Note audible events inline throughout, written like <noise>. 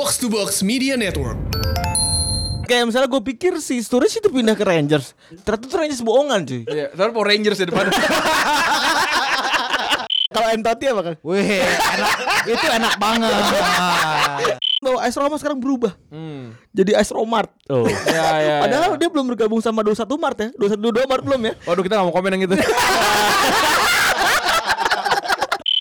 Box to Box Media Network. Kayak misalnya gue pikir si Sturridge itu pindah ke Rangers Ternyata tuh Rangers bohongan cuy Iya, ntar Power Rangers di depan. <laughs> Kalau M Tati apa kan? Wih, enak. itu enak banget. Bahwa AS Roma sekarang berubah Hmm, Jadi AS Romart Oh. Iya, iya. <laughs> Padahal dia belum bergabung sama 21 Mart ya 21 Mart belum ya Waduh, kita gak mau komen yang itu.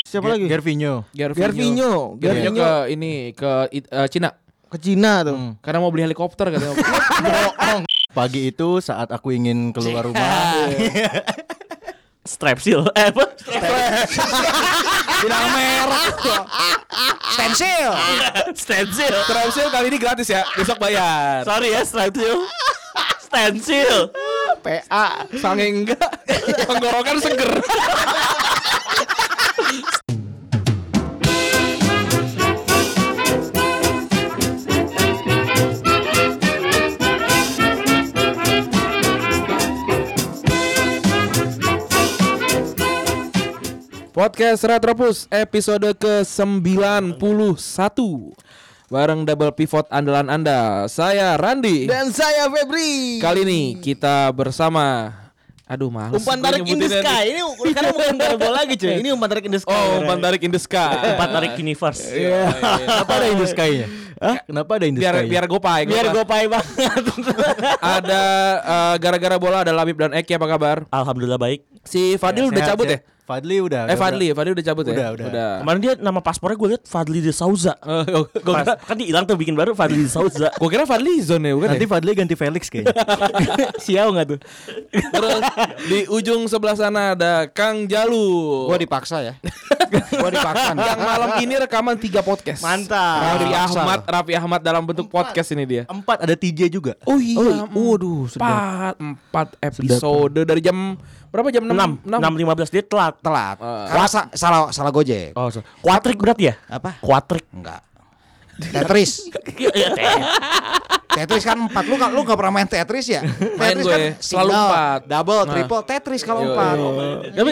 Siapa Iya. Ger- lagi? Gervinho. Gervinho Gervinho Gervinho ke ini ke It- eh, Cina ke Cina tuh karena mau beli helikopter katanya. Bohong. Pagi itu saat aku ingin keluar rumah. Iya, Strepsil Eh apa? Bilang merek. Stensil. Stensil Strepsil kali ini gratis ya, besok bayar. Sorry ya Strepsil Stensil PA. Sange enggak. <laughs> Tenggorokan seger. Podcast Retropus episode ke-91 Bareng double pivot andalan Anda Saya Randi Dan saya Febri Kali ini kita bersama Aduh males Umpan gue tarik in the nyebutinnya sky Nah, nih. Ini sekarang bukan bola lagi cuy Ini umpan tarik in the sky Eh. Iya. Oh umpan tarik in the sky Empat tarik universe. Kenapa ada Indus kayaknya? Hah? Kenapa ada Indus Biar kayaknya? biar gopai Biar gopai. gue pahit banget <laughs> Ada eh, gara-gara bola ada Labib dan Eki apa kabar? Alhamdulillah baik. Si Fadil udah cabut ya? Fadli udah. Eh Fadli, Fadli udah cabut ya? Udah, udah. Kemarin dia nama paspornya gue liat Fadli de Souza. Eh, Gue kira, Pas- kan dia hilang tuh bikin baru Fadli de Souza. gua kira Fadli zone ya bukan Nanti ya? Fadli ganti Felix kayaknya. Siau gak tuh? Terus di ujung sebelah sana ada Kang Jalu Gua dipaksa <laughs> ya. Gua dipaksa. nih. Yang malam ini rekaman tiga podcast Mantap Raffi Dipaksa. Ahmad, Raffi Ahmad dalam bentuk podcast ini dia Empat ada TJ juga. Oh iya, waduh, empat, empat episode dari jam berapa jam enam? Enam, enam lima belas dia telat. Eh. Telat. Karena sa- salah salah Gojek. Oh, so. Kuatrik berarti ya? Apa? Kuatrik. Enggak. Tetris. <laughs> Iya, teh. Tetris kan empat. Lu nggak lu nggak pernah main Tetris ya? Tetris gue, kan selalu single, empat. Double, Nah. triple, Tetris kalau Iya, empat. Oh. Tapi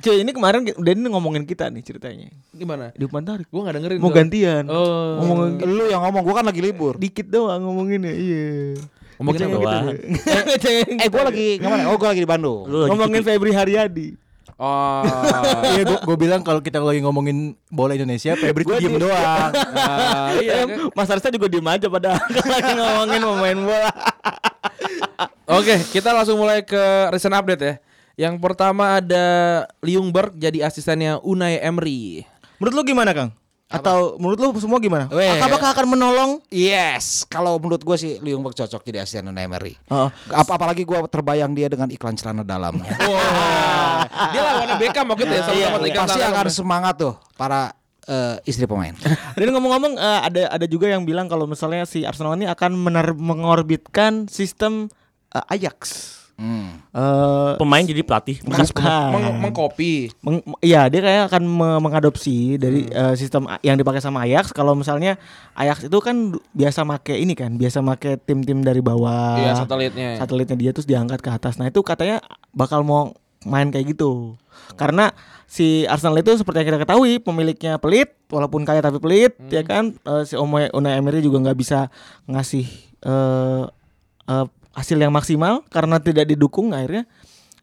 cuy ini kemarin Denny ngomongin kita nih ceritanya Gimana? Di umpan tarik Gue gak dengerin Mau tuh. gantian Oh. Ngomongin Lu yang ngomong, gua kan lagi libur. dikit doang ngomonginnya Iya Ngomongin apa? Jangan Wah. gitu <laughs> deh. Jangan Eh, gua gitu. lagi kemana? Oh, gua lagi di Bandung. Lu lagi Ngomongin cuti. Febri Haryadi Oh Iya, gua, gua bilang kalau kita lagi ngomongin bola Indonesia, Febri tuh Gua diem di- <laughs> doang. Ah, iya, kan? Mas Arsa juga diem aja pada <laughs> lagi ngomongin pemain bola Oke, kita langsung mulai ke recent update ya. Yang pertama ada Liungberg jadi asistennya Unai Emery. Menurut lu gimana Kang? Atau menurut lu semua gimana? Apakah akan menolong? Yes, kalau menurut gua sih Liungberg cocok jadi asisten Unai Emery. Heeh. Ap- apalagi gua terbayang dia dengan iklan celana dalam. Wah, <laughs> dia lawannya Beckham waktu itu ya sama sama Pasti akan semangat tuh para eh, istri pemain. <laughs> Dan ngomong-ngomong eh, ada ada juga yang bilang kalau misalnya si Arsenal ini akan mener- mengorbitkan sistem eh, Ajax. Hmm. Eh, Pemain jadi pelatih. <laughs> bukan. Meng- mengkopi. Meng- iya, dia kayak akan me- mengadopsi dari Hmm. eh, sistem a- yang dipakai sama Ajax. Kalau misalnya Ajax itu kan du- biasa make ini kan, biasa make tim-tim dari bawah. Iya, satelitnya. Satelitnya dia terus diangkat ke atas. Nah, itu katanya bakal mau main kayak gitu. Karena si Arsenal itu seperti yang kita ketahui pemiliknya pelit, walaupun kaya tapi pelit, ya kan? Eh, si Omoy Unai Emery juga nggak bisa ngasih eh eh, hasil yang maksimal karena tidak didukung akhirnya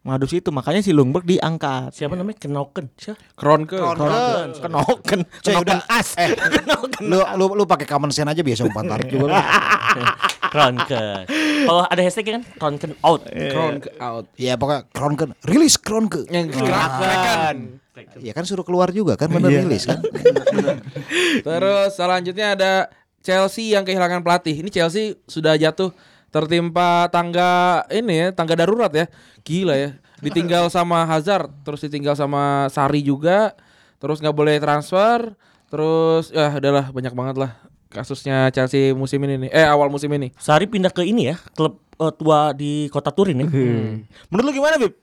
mengadopsi itu. Makanya si Lundberg diangkat. Siapa namanya? Kenoken. Siapa? Kronke. Kenoken, kenoken, Cuy, kenoken udah. as. Lu lu lu pakai common sense aja biasa umpan tarik juga. lu. Kronken. Kalau ada hashtag kan Kronken out. Kronke out. Ya pokoknya Kronken rilis Kronken. Yang gerakan. Ya kan suruh keluar juga kan bener rilis kan. Terus selanjutnya ada Chelsea yang kehilangan pelatih. Ini Chelsea sudah jatuh tertimpa tangga ini ya, tangga darurat ya. Gila ya. Ditinggal sama Hazard, terus ditinggal sama Sari juga, terus nggak boleh transfer, terus ya adalah banyak banget lah kasusnya Chelsea musim ini nih. Eh awal musim ini. Sari pindah ke ini ya, klub eh, tua di kota Turin ya. Hmm. Menurut lu gimana, Bib?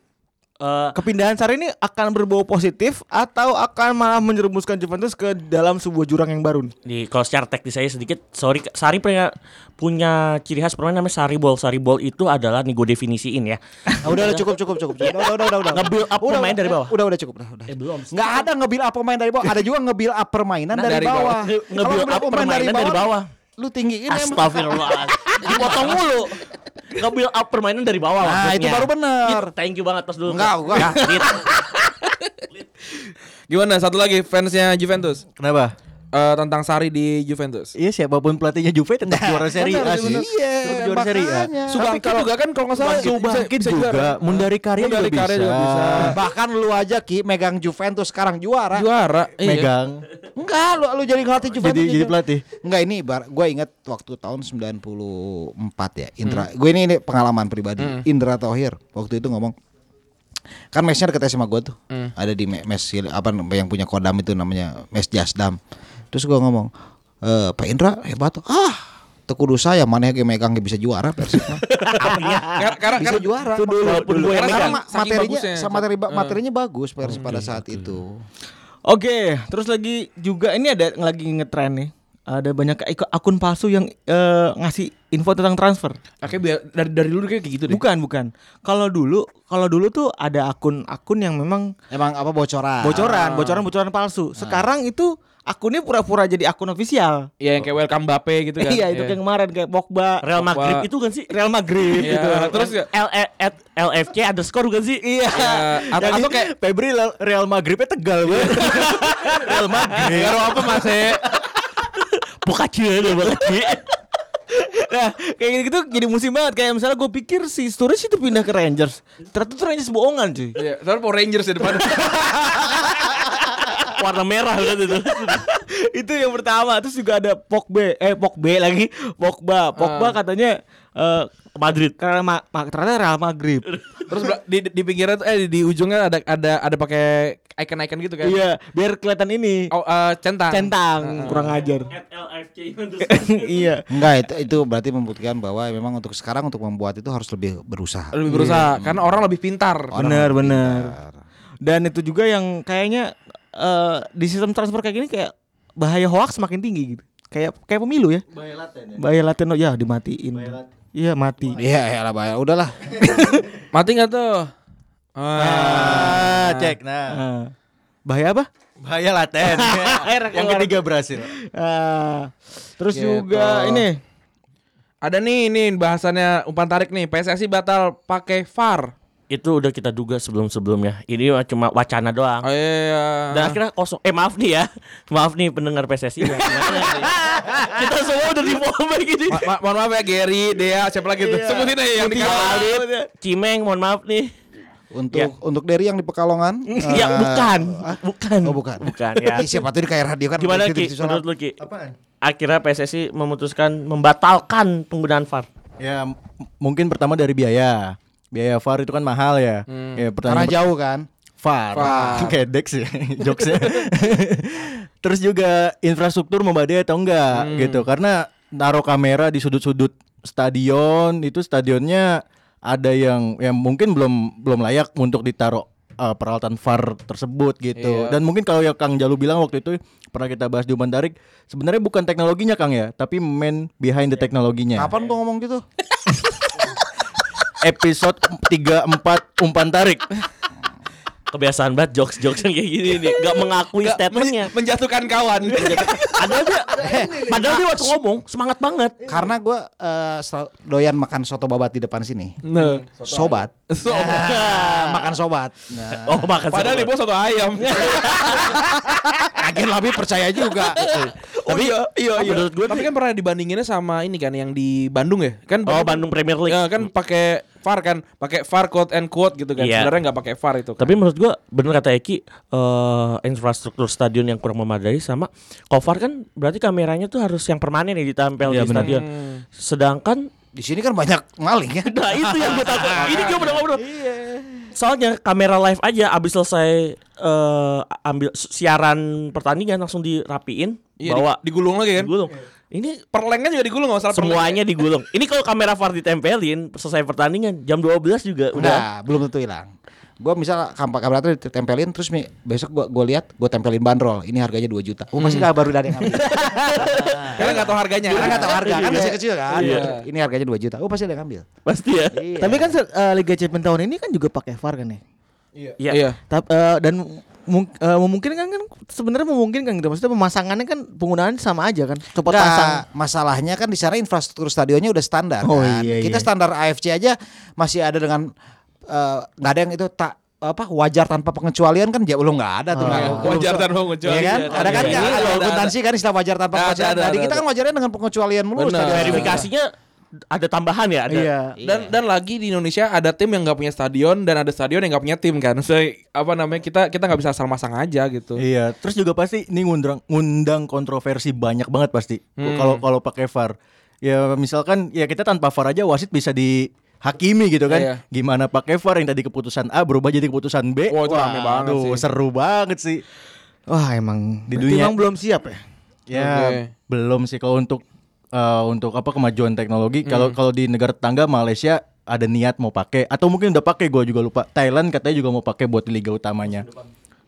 Eh, Kepindahan Sarri ini akan berbau positif atau akan malah menjerumuskan Juventus ke dalam sebuah jurang yang baru? nih? di kalau secara teknis saya sedikit sorry Sari punya punya ciri khas pemain namanya Sari Ball Sari Ball itu adalah nih gue definisiin ya Ah, udah udah <laughs> cukup cukup cukup. cukup. Udah udah udah udah. Nge-build up Udah, pemain dari bawah. Udah udah cukup udah udah. eh belum Enggak ada nge-build up pemain Nah, dari bawah, ada juga nge-build up permainan dari, dari bawah. ya, bawah. Kalau nge-build nge-build up permainan dari bawah lu tinggiin emang. Astagfirullah. Dipotong mulu. Nggak build up permainan dari bawah Nah, maksudnya. itu baru bener. Iya. Dit, Thank you banget tos dulu. Enggak, gua- Ya, Dit. Gimana satu lagi fansnya Juventus Kenapa? Eh, tentang Sari di Juventus. Iya siapapun pelatihnya Juve tetap juara Serie A sih. Iya, Tetap juara Serie A. makanya. Subangkit juga kan kalau nggak salah Subangkit juga, Mundari Karya juga Mundari Karya juga bisa. bisa. Bahkan lu aja Ki megang Juventus sekarang juara. Juara. Iya. Megang. Enggak, lu lu jadi ngelatih Jadi Juventus. jadi pelatih. Enggak ini ibar gue inget waktu tahun 94 ya. Indra, gue ini, ini pengalaman pribadi. Indra Thohir waktu itu ngomong kan mesnya deket sama gue tuh. Ada di me- mes apa yang punya Kodam itu namanya mes Jasdam. Terus gue ngomong, "Eh, Pak Indra hebat tuh." Ah, Tekudu saya mana yang megang yang bisa juara Persib. <laughs> mah." Kar- Karena bisa juara. Itu dulu, Walaupun dulu gue yang karena megang. ma- Saking materinya bagusnya. sama materi materinya bagus Persib pada saat itu. Oke, terus lagi juga ini ada yang lagi ngetren nih. Ada banyak ik- akun palsu yang eh, ngasih info tentang transfer. Oke biar dari dari dulu kayak gitu deh. Bukan, bukan. Kalau dulu, kalau dulu tuh ada akun-akun yang memang Emang apa bocoran? Ah. bocoran, bocoran-bocoran palsu. Sekarang itu akunnya pura-pura jadi akun ofisial. Iya yang kayak welcome Bape gitu kan. Iya, itu kayak kemarin kayak Pogba, Real Madrid Wah. itu kan sih? Real Madrid Iya, gitu. terus ya, LE E, at LFC underscore bukan sih? Iya. atau, atau kayak Febri Real- Real Maghribnya tegal <laughs> banget. Real Maghrib. Garo apa Mas? eh? Pokaci ada Pokaci. Nah, kayak gitu jadi musim banget kayak misalnya gue pikir si Sturridge itu pindah ke Rangers. Ternyata tuh Rangers bohongan, cuy. Iya, terus Power Rangers di depan. Warna merah kan itu. <laughs> itu yang pertama terus juga ada Pogba eh Pogba lagi Pogba Pogba katanya eh Madrid. karena ma ma- ternyata Real Madrid Terus bela- di, di pinggirnya tuh, eh di, di ujungnya ada ada ada pakai icon-icon gitu kan. iya biar kelihatan ini Oh, eh, centang. centang kurang ajar At LFC underscore. <laughs> iya Enggak, itu itu berarti membuktikan bahwa memang untuk sekarang untuk membuat itu harus lebih berusaha. Lebih berusaha karena orang lebih pintar. Orang bener lebih bener pintar. dan itu juga yang kayaknya eh di sistem transfer kayak gini kayak bahaya hoax makin tinggi gitu kayak kayak pemilu ya bahaya laten oh, ya dimatiin iya mati Iya, ya lah, bahaya. udahlah. Mati nggak tuh? Ah. Ah, cek nah. Eh, bahaya apa Bahaya laten. yang keluar. ketiga berhasil. Eh, terus Gitu. juga ini Ada nih ini bahasannya umpan tarik nih. PSSI batal pakai VAR. itu udah kita duga sebelum-sebelumnya. Ini cuma wacana doang. Oh, iya. Dan akhirnya kosong. Eh maaf nih ya, maaf nih pendengar PSSI. ya. Kita semua udah di bawah gini. Ma- ma- mohon maaf ya Gary, Dea, siapa lagi tuh? Sebutin aja yang di Khalid, Cimeng, mohon maaf nih. Untuk untuk Derry yang di Pekalongan. ya eh, bukan, bukan. Oh, bukan. Bukan ya. eh, siapa tuh di kayak radio kan Gimana Ki? kritik-kritik soal- Menurut lu Ki? Akhirnya PSSI memutuskan membatalkan penggunaan VAR. Ya m- mungkin pertama dari biaya. Biaya VAR itu kan mahal ya. Ya Karena pertanyaan per- jauh kan. VAR. Hmm. <laughs> VAR. Kayak Dex ya jokesnya. <laughs> Terus juga infrastruktur memadai atau enggak Hmm. gitu. Karena naruh kamera di sudut-sudut stadion itu stadionnya ada yang yang mungkin belum belum layak untuk ditaruh uh, peralatan VAR tersebut gitu. Iya. Dan mungkin kalau yang Kang Jalu bilang waktu itu pernah kita bahas di Umpan Tarik, sebenarnya bukan teknologinya Kang ya, tapi man behind Iya. the teknologinya Kapan gua ngomong gitu? episode 3 4 umpan tarik. Kebiasaan banget jokes-jokes yang kayak gini nih, nggak mengakui statementnya. menjatuhkan kawan. Ada aja. Padahal dia waktu ngomong semangat banget. Karena gua eh, sel- doyan makan soto babat di depan sini. nah. Sobat. So, Ah, makan sobat. Nah, Oh makan padahal di sama. bawah satu ayam. agen lebih percaya <laughs> juga. tapi iya, iya. Menurut gue tapi kan pernah dibandinginnya sama ini kan yang di Bandung ya? Kan Oh Bandung Premier League. Ya, kan pakai VAR kan, pakai VAR quote and quote gitu kan. Iya. Sebenarnya nggak pakai VAR itu. Kan. Tapi menurut gua bener kata Eki eh infrastruktur stadion yang kurang memadai sama cover kan berarti kameranya tuh harus yang permanen ya ditempel Iya, di stadion. Sedangkan Di sini kan banyak maling ya. nah itu yang gue <laughs> takut. Ini gue udah ngobrol. Iya. Soalnya kamera live aja abis selesai eh, ambil siaran pertandingan langsung dirapiin Iya, di- bawa digulung lagi kan. digulung. Ini Perlengnya juga digulung nggak salah. semuanya Eh, digulung. Ini kalau kamera VAR ditempelin selesai pertandingan jam 12 juga udah Nah. Udah, belum tentu hilang. Gua misal kampak kamera tuh ditempelin terus Mi, besok gua gua lihat gua tempelin bandrol, ini harganya 2 juta. Iya, Oh, Hmm. pasti nggak baru dari <laughs> yang ambil. Perlengnya. Karena nggak tahu harganya. Karena nggak tahu harga kan Iya. masih kecil kan. Iya. Ini harganya 2 juta. Oh, pasti ada yang ambil. <laughs> pasti ya. Iya. Tapi kan se- eh, Liga Champions tahun ini kan juga pakai VAR kan ya. Iya. Tap- eh, dan mung- eh, memungkinkan kan sebenarnya memungkinkan gitu. Maksudnya pemasangannya kan penggunaannya sama aja kan. Copot Nggak, pasang. masalahnya kan di sana infrastruktur stadionnya udah standar Oh, kan. iya, Kita iya. standar AFC aja masih ada dengan eh, nggak ada yang itu tak apa wajar tanpa pengecualian kan ya belum nggak ada Oh, tuh. nggak- belum- Wajar tanpa Iya pengecualian. kan? Ada kan Iya, ya? ada, Ada ada, akuntansi kan istilah wajar tanpa Ada, pengecualian. ada, Tadi ada, kita kan wajarnya dengan pengecualian mulu. Benar. stadion. Verifikasinya ada tambahan ya ada. Iya. Dan dan lagi di Indonesia ada tim yang nggak punya stadion dan ada stadion yang nggak punya tim kan. So, apa namanya kita kita nggak bisa asal masang aja gitu. Iya, terus juga pasti ini ngundang ngundang kontroversi banyak banget pasti. Hmm. Kalau kalau pakai VAR. Ya misalkan ya kita tanpa VAR aja wasit bisa dihakimi gitu kan Iya. gimana pakai VAR yang tadi keputusan A berubah jadi keputusan B Wah, itu rame banget aduh, sih. seru banget sih Wah, emang Di berarti dunia- emang belum siap ya. ya Oke. belum sih kalau untuk eh, untuk apa kemajuan teknologi kalau Mm. kalau di negara tetangga Malaysia ada niat mau pakai atau mungkin udah pakai gue juga lupa Thailand katanya juga mau pakai buat di liga utamanya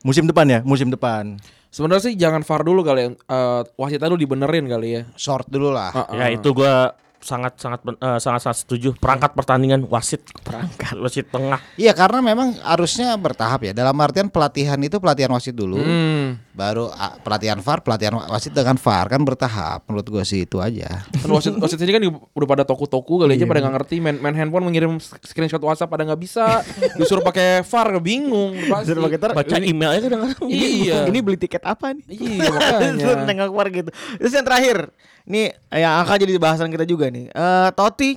musim depan ya musim depan Sebenarnya sih jangan VAR dulu kali ya. Eh, wasitnya dulu dibenerin kali ya. Short dulu lah. Ah. Iya. Ya itu gua sangat sangat eh, sangat sangat setuju perangkat pertandingan wasit perangkat wasit tengah Iya karena memang harusnya bertahap ya. Dalam artian pelatihan itu pelatihan wasit dulu, Hmm. baru ah, pelatihan VAR, pelatihan wa- wasit dengan VAR kan bertahap. Menurut gue sih itu aja. Kan wasit wasit sini kan di- udah pada toko-toko kali Iya. aja pada nggak ngerti main, main handphone mengirim s- screenshot WhatsApp pada nggak bisa disuruh pakai VAR bingung pasti. Suruh pakai ter- baca emailnya kadang-kadang Iya. Ini beli tiket apa nih? Iya <laughs> Suruh makanya. nengok keluar gitu. Terus yang terakhir, nih yang akan jadi bahasan kita juga nih. Eh Totti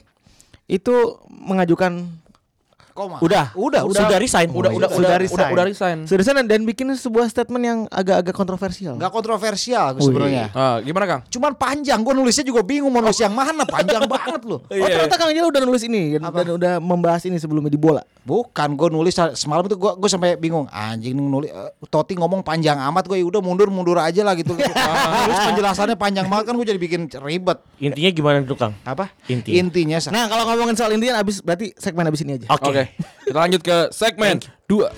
itu mengajukan Koma. udah Udah, udah. sudah resign Udah udah udah resign. udah udah resign. sudah sana dan bikin sebuah statement yang agak-agak kontroversial. Gak Oh, kontroversial iya. gue sebenarnya. Ah, gimana Kang? Cuman panjang, gue nulisnya juga bingung mau nulis yang mana, <laughs> panjang banget loh. Oh ternyata Kang Jel udah nulis ini dan, dan udah membahas ini sebelumnya di bola. Bukan, gue nulis semalam itu gue gue sampai bingung. Anjing ini nulis, eh, Toti ngomong panjang amat gue, udah mundur mundur aja lah <laughs> gitu. Terus penjelasannya panjang banget kan gue jadi bikin ribet. intinya gimana tuh kang Apa? Intinya. Intinya sa- Nah kalau ngomongin soal Indian abis berarti segmen abis ini aja. oke Oke, kita lanjut ke segmen dua.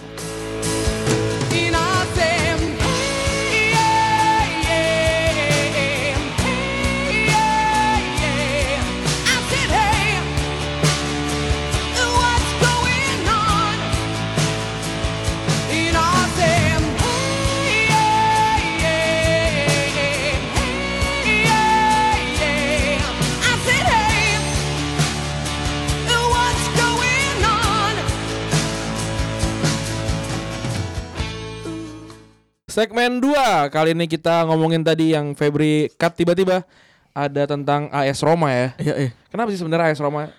Segmen 2 kali ini kita ngomongin tadi yang Febri cut tiba-tiba ada tentang AS Roma ya. Iya, iya. Kenapa sih sebenarnya AS Roma?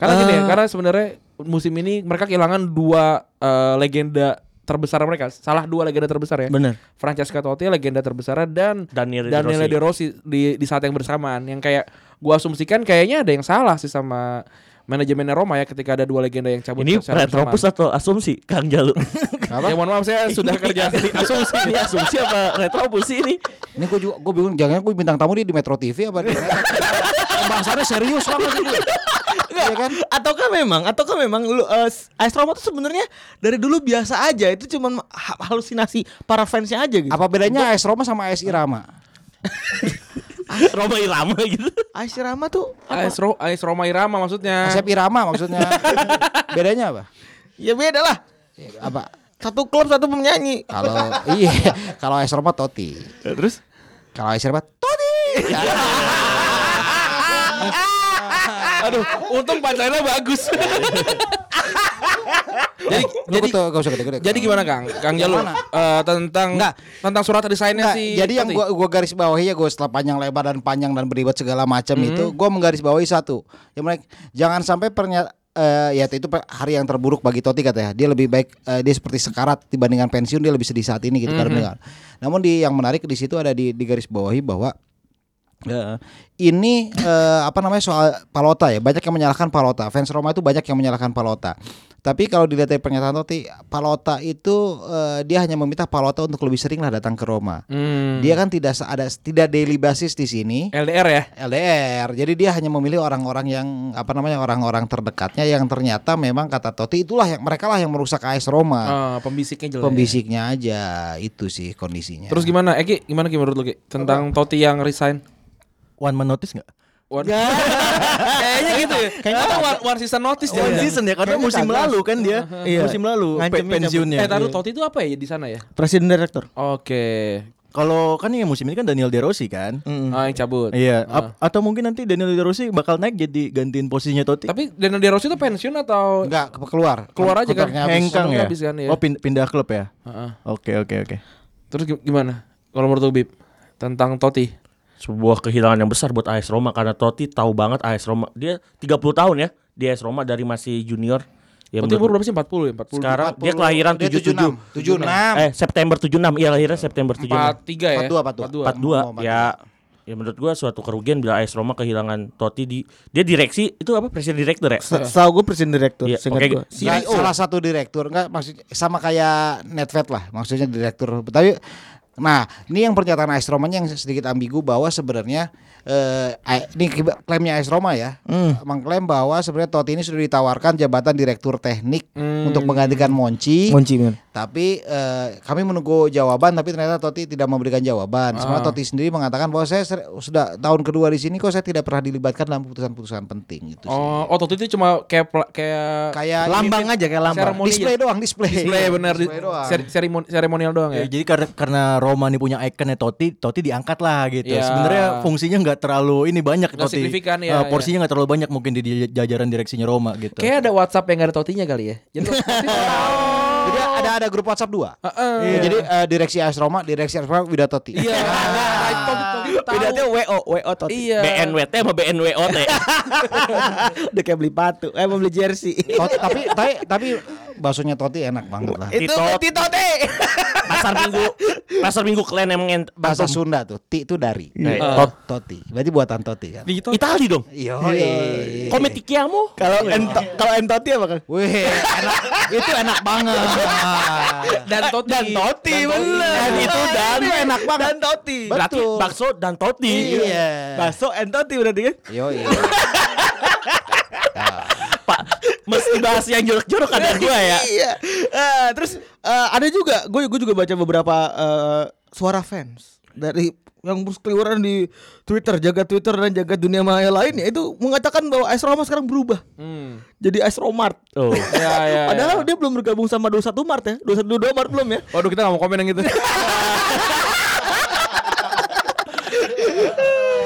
Karena gini ya, karena sebenarnya musim ini mereka kehilangan dua eh, legenda terbesar mereka. Salah dua legenda terbesar ya. Bener. Francesca Totti legenda terbesar dan Daniele De Daniele Rossi. De Rossi di di saat yang bersamaan yang kayak gua asumsikan kayaknya ada yang salah sih sama manajemennya Roma ya ketika ada dua legenda yang cabut ini secara bersamaan. retropus atau asumsi kang jalu Ya mohon maaf saya <laughs> sudah kerja <laughs> Ini asumsi ini asumsi apa retropus sih ini Ini gue juga gue bingung jangan gue bintang tamu dia di Metro TV <laughs> apa Pembahasannya serius banget ini. Iya kan? Ataukah memang, ataukah memang lu eh, Ice Roma tuh sebenarnya dari dulu biasa aja, itu cuman ha- halusinasi para fansnya aja gitu. Apa bedanya AS Roma sama AS Irama? Roma Irama gitu Ice Rama tuh AS, Ro- AS Roma Irama maksudnya. Asep Irama <laughs> maksudnya. Bedanya apa? ya beda lah. Apa? Satu klub satu penyanyi. Kalau iya, kalau AS Roma Toti. Eh, Terus Kalau AS Irama Toti. Aduh, untung pancarnya <laughs> bagus. jadi Lu jadi tuh gak usah gede-gede. jadi gimana Kang? Kang Jalu mana? eh, tentang Enggak. tentang surat desainnya Nggak, si jadi yang Toti. gua gua garis bawahi ya gua setelah panjang lebar dan panjang dan berdebat segala macam Hmm. itu gua menggarisbawahi satu. Yang mereka jangan sampai pernya eh, ya itu pe- hari yang terburuk bagi Totti katanya. Dia lebih baik eh, dia seperti sekarat dibandingkan pensiun dia lebih sedih saat ini gitu Hmm. karena dengar. Namun di yang menarik di situ ada di, di garis bawahi bahwa eh, ini eh, apa namanya soal Palota ya banyak yang menyalahkan Palota fans Roma itu banyak yang menyalahkan Palota tapi kalau dilihat dari pernyataan Totti Palota itu eh, dia hanya meminta Palota untuk lebih seringlah datang ke Roma Hmm. dia kan tidak se- ada tidak daily basis di sini. LDR ya. LDR. Jadi dia hanya memilih orang-orang yang apa namanya orang-orang terdekatnya yang ternyata memang kata Totti itulah yang mereka lah yang merusak AS Roma. Eh, pembisiknya jelas. Pembisiknya aja itu sih kondisinya. Terus gimana? Eki, gimana Ki menurut lu Ki? Tentang Toti yang resign? one man notice nggak One... <laughs> Kayaknya gitu ya. Kayaknya one, one season notice One jangan-jangan. season ya karena Kayaknya musim kagak. lalu kan dia. Iya. Musim lalu pe- Ngancemnya pensiunnya. Eh, taruh Totti itu apa ya di sana ya? Presiden direktur. Oke. Kalau kan yang musim ini kan Daniel De Rossi kan. Hmm. Ah, yang cabut. Iya, ap- atau mungkin nanti Daniel De Rossi bakal naik jadi gantiin posisinya Totti. Tapi Daniel De Rossi itu pensiun atau Enggak ke- keluar. Keluar aja kan? Kontraknya habis. Hengkang Kontraknya ya. habis kan, iya. Oh, pin- pindah klub ya. Heeh. Oke, oke, oke. Terus gi- gimana? Kalau menurut lu, Bib tentang Totti. sebuah kehilangan yang besar buat AS Roma karena Totti tahu banget AS Roma. Dia 30 tahun ya di AS Roma dari masih junior. Ya Totti umur berapa menurut- sih? 40 ya? 40. sekarang dia 40, kelahiran dia 77. 76. 76. Eh September 76. Iya lahirnya September 76. 43 ya. 42, 42. Oh, 42. Ya ya menurut gua suatu kerugian bila AS Roma kehilangan Totti di dia direksi itu apa presiden direktur ya? Se- Setahu gue presiden direktur. Iya, seingat oke. gua. Nggak, salah satu direktur enggak maksudnya sama kayak Netfed lah maksudnya direktur tapi nah ini yang pernyataan AS Romanya yang sedikit ambigu bahwa sebenarnya eh, A- ini kiba- klaimnya AS Roma ya mengklaim bahwa sebenarnya Totti ini sudah ditawarkan jabatan direktur teknik untuk menggantikan Monchi, Monchi men. tapi eh, kami menunggu jawaban tapi ternyata Totti tidak memberikan jawaban. Sementara Totti sendiri mengatakan bahwa saya ser- sudah tahun kedua di sini kok saya tidak pernah dilibatkan dalam keputusan-keputusan penting gitu. sih. Oh, oh Totti itu cuma kayak pla- kayak Kayak Lambang aja kayak lambang. Seremoni display ya? doang, display. display Iya, bener di, display doang. ser- seremoni- seremonial doang ya. Ya, jadi karena karena Roma nih punya ikonnya Totti, Totti diangkat lah gitu. Iya. Sebenarnya fungsinya nggak terlalu ini banyak Nggak Totti. signifikan, Eh, ya, porsinya nggak terlalu banyak mungkin di di jajaran direksinya Roma gitu. Kayak ada WhatsApp yang gak ada Totinya kali ya. Jadi lu- <laughs> Jadi ada ada grup WhatsApp dua. Heeh. Jadi eh, direksi AS Roma, direksi AS Roma Wida Totti. <laughs> Iya. Nah, Totti- Totti tahu. Bedanya WO, WO Totti. Iya. BNWT sama BNWOT. <laughs> Udah kayak beli sepatu, eh mau beli jersey. <laughs> Totti, tapi tapi tapi baksonya Totti enak banget lah. Itu Titot. Tito Totti. pasar Minggu pasar Minggu kalian emang ent- Bahasa Bantum. Sunda tuh, ti itu dari. Iya. Tot Totti. Berarti buatan Totti kan. Di Totti. Itali dong. Iya. Kometikiamu. <laughs> Kalau N- kalau M Totti apa kan? Wih, enak. itu enak banget. dan Totti. Dan Totti bener. Dan itu dan enak banget. Iya. Dan Totti. Berarti Betul. bakso dan Totti. Iya. Bakso M Totti berarti kan? Yo, iya. Pak, mesti bahas yang jorok-jorok ada gua ya. iya. Eh, terus eh, ada juga gue gue juga baca beberapa eh, suara fans dari yang berkeliweran di Twitter, jaga Twitter dan jaga dunia maya lainnya itu mengatakan bahwa AS Roma sekarang berubah. Hmm. Jadi AS Romart. Tuh. Ya, ya, ya. <laughs> Padahal dia belum bergabung sama 21 Mart ya. 21 Mart belum ya. Waduh kita gak mau komen yang gitu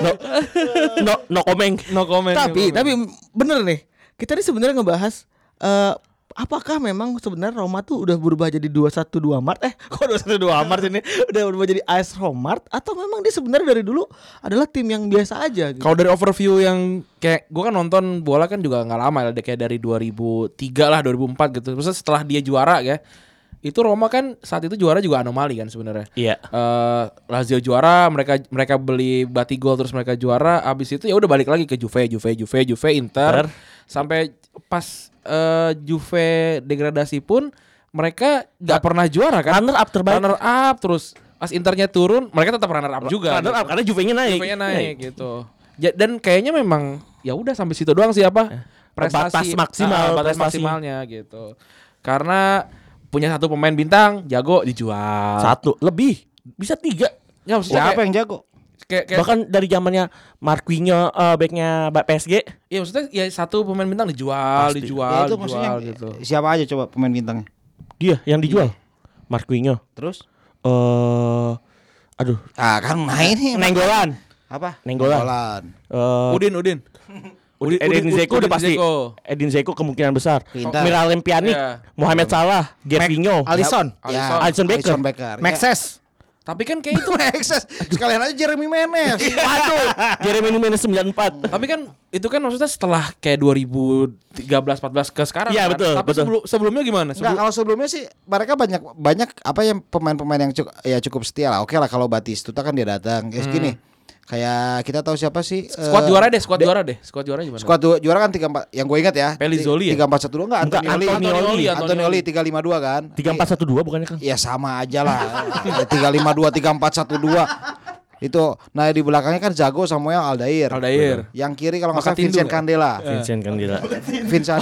No, no, no komeng. <laughs> No comment tapi no comment. tapi bener nih kita ini sebenarnya ngebahas eh, apakah memang sebenarnya Roma tuh udah berubah jadi 212 Mart eh kok 212 Mart ini udah berubah jadi AS Romart atau memang dia sebenarnya dari dulu adalah tim yang biasa aja gitu. Kalau dari overview yang kayak gua kan nonton bola kan juga nggak lama lah kayak dari 2003 lah 2004 gitu. Terus setelah dia juara ya. Itu Roma kan saat itu juara juga anomali kan sebenarnya. Iya. Eh, Lazio juara, mereka mereka beli Batigol terus mereka juara. Abis itu ya udah balik lagi ke Juve, Juve, Juve, Juve, Inter. Inter. Sampai pas eh, Juve degradasi pun mereka nggak pernah juara kan? Runner up terbaik. Runner up terus pas Internya turun, mereka tetap runner up juga. gitu. Karena, karena Juve-nya naik. Juve-nya naik gitu. Ja- dan kayaknya memang ya udah sampai situ doang sih apa Eh, Batas maksimal, Ah, batas prestasi. maksimalnya gitu. Karena punya satu pemain bintang jago dijual. Satu lebih bisa tiga. Ya, maksudnya Siapa kayak, yang jago? kayak, kayak- Bahkan dari zamannya Marquinhos eh, backnya Ba- PSG ya maksudnya ya satu pemain bintang dijual, dijual, Ya, itu maksudnya dijual gitu. siapa aja coba pemain bintangnya? dia Iya, yang dijual. Marquinhos. Terus? Eh, aduh, Ah, kan main nih. Nenggolan. Apa? Nenggolan. Nenggolan. Eh, <laughs> Udin, Udin. Udin, Edin Dzeko udah pasti. Dzeko. Edin Dzeko kemungkinan besar. Pintar. Miralem Pjanic, Iya. Mohamed Salah, Gervinho, Alison, Alisson. Ya, Alisson Becker. Alisson Becker. Ya. <laughs> Maxes, Tapi kan kayak itu. Texas. Sekalian aja Jeremy Menes. Waduh, Jeremy Nunes 94. Tapi kan itu kan maksudnya setelah kayak 2013 14 ke sekarang. kan? Iya, betul, Tapi betul. sebelum- sebelumnya gimana? Enggak, Sebelum- kalau sebelumnya sih mereka banyak banyak apa yang pemain-pemain yang cukup ya cukup setia lah. Oke lah kalau Batistuta kan dia datang. Ya segini. Kayak kita tahu siapa sih? Hmm. Squad eh, juara deh, squad juara deh. Squad juara gimana? Squad du- juara kan 34 yang gue ingat ya. Pelizzoli ya? 3412 enggak Enggak, Antonioli. Antonioli, Antonioli 352 kan. Iya, <laughs> 3412 bukannya Kang? Ya sama aja lah. 352 3412. Itu nah di belakangnya kan Zago Samuel Aldair. Aldair. Yang kiri kalau nggak salah Maka Tindu Vincent nggak? Candela. Vincent kan gila. Vincent.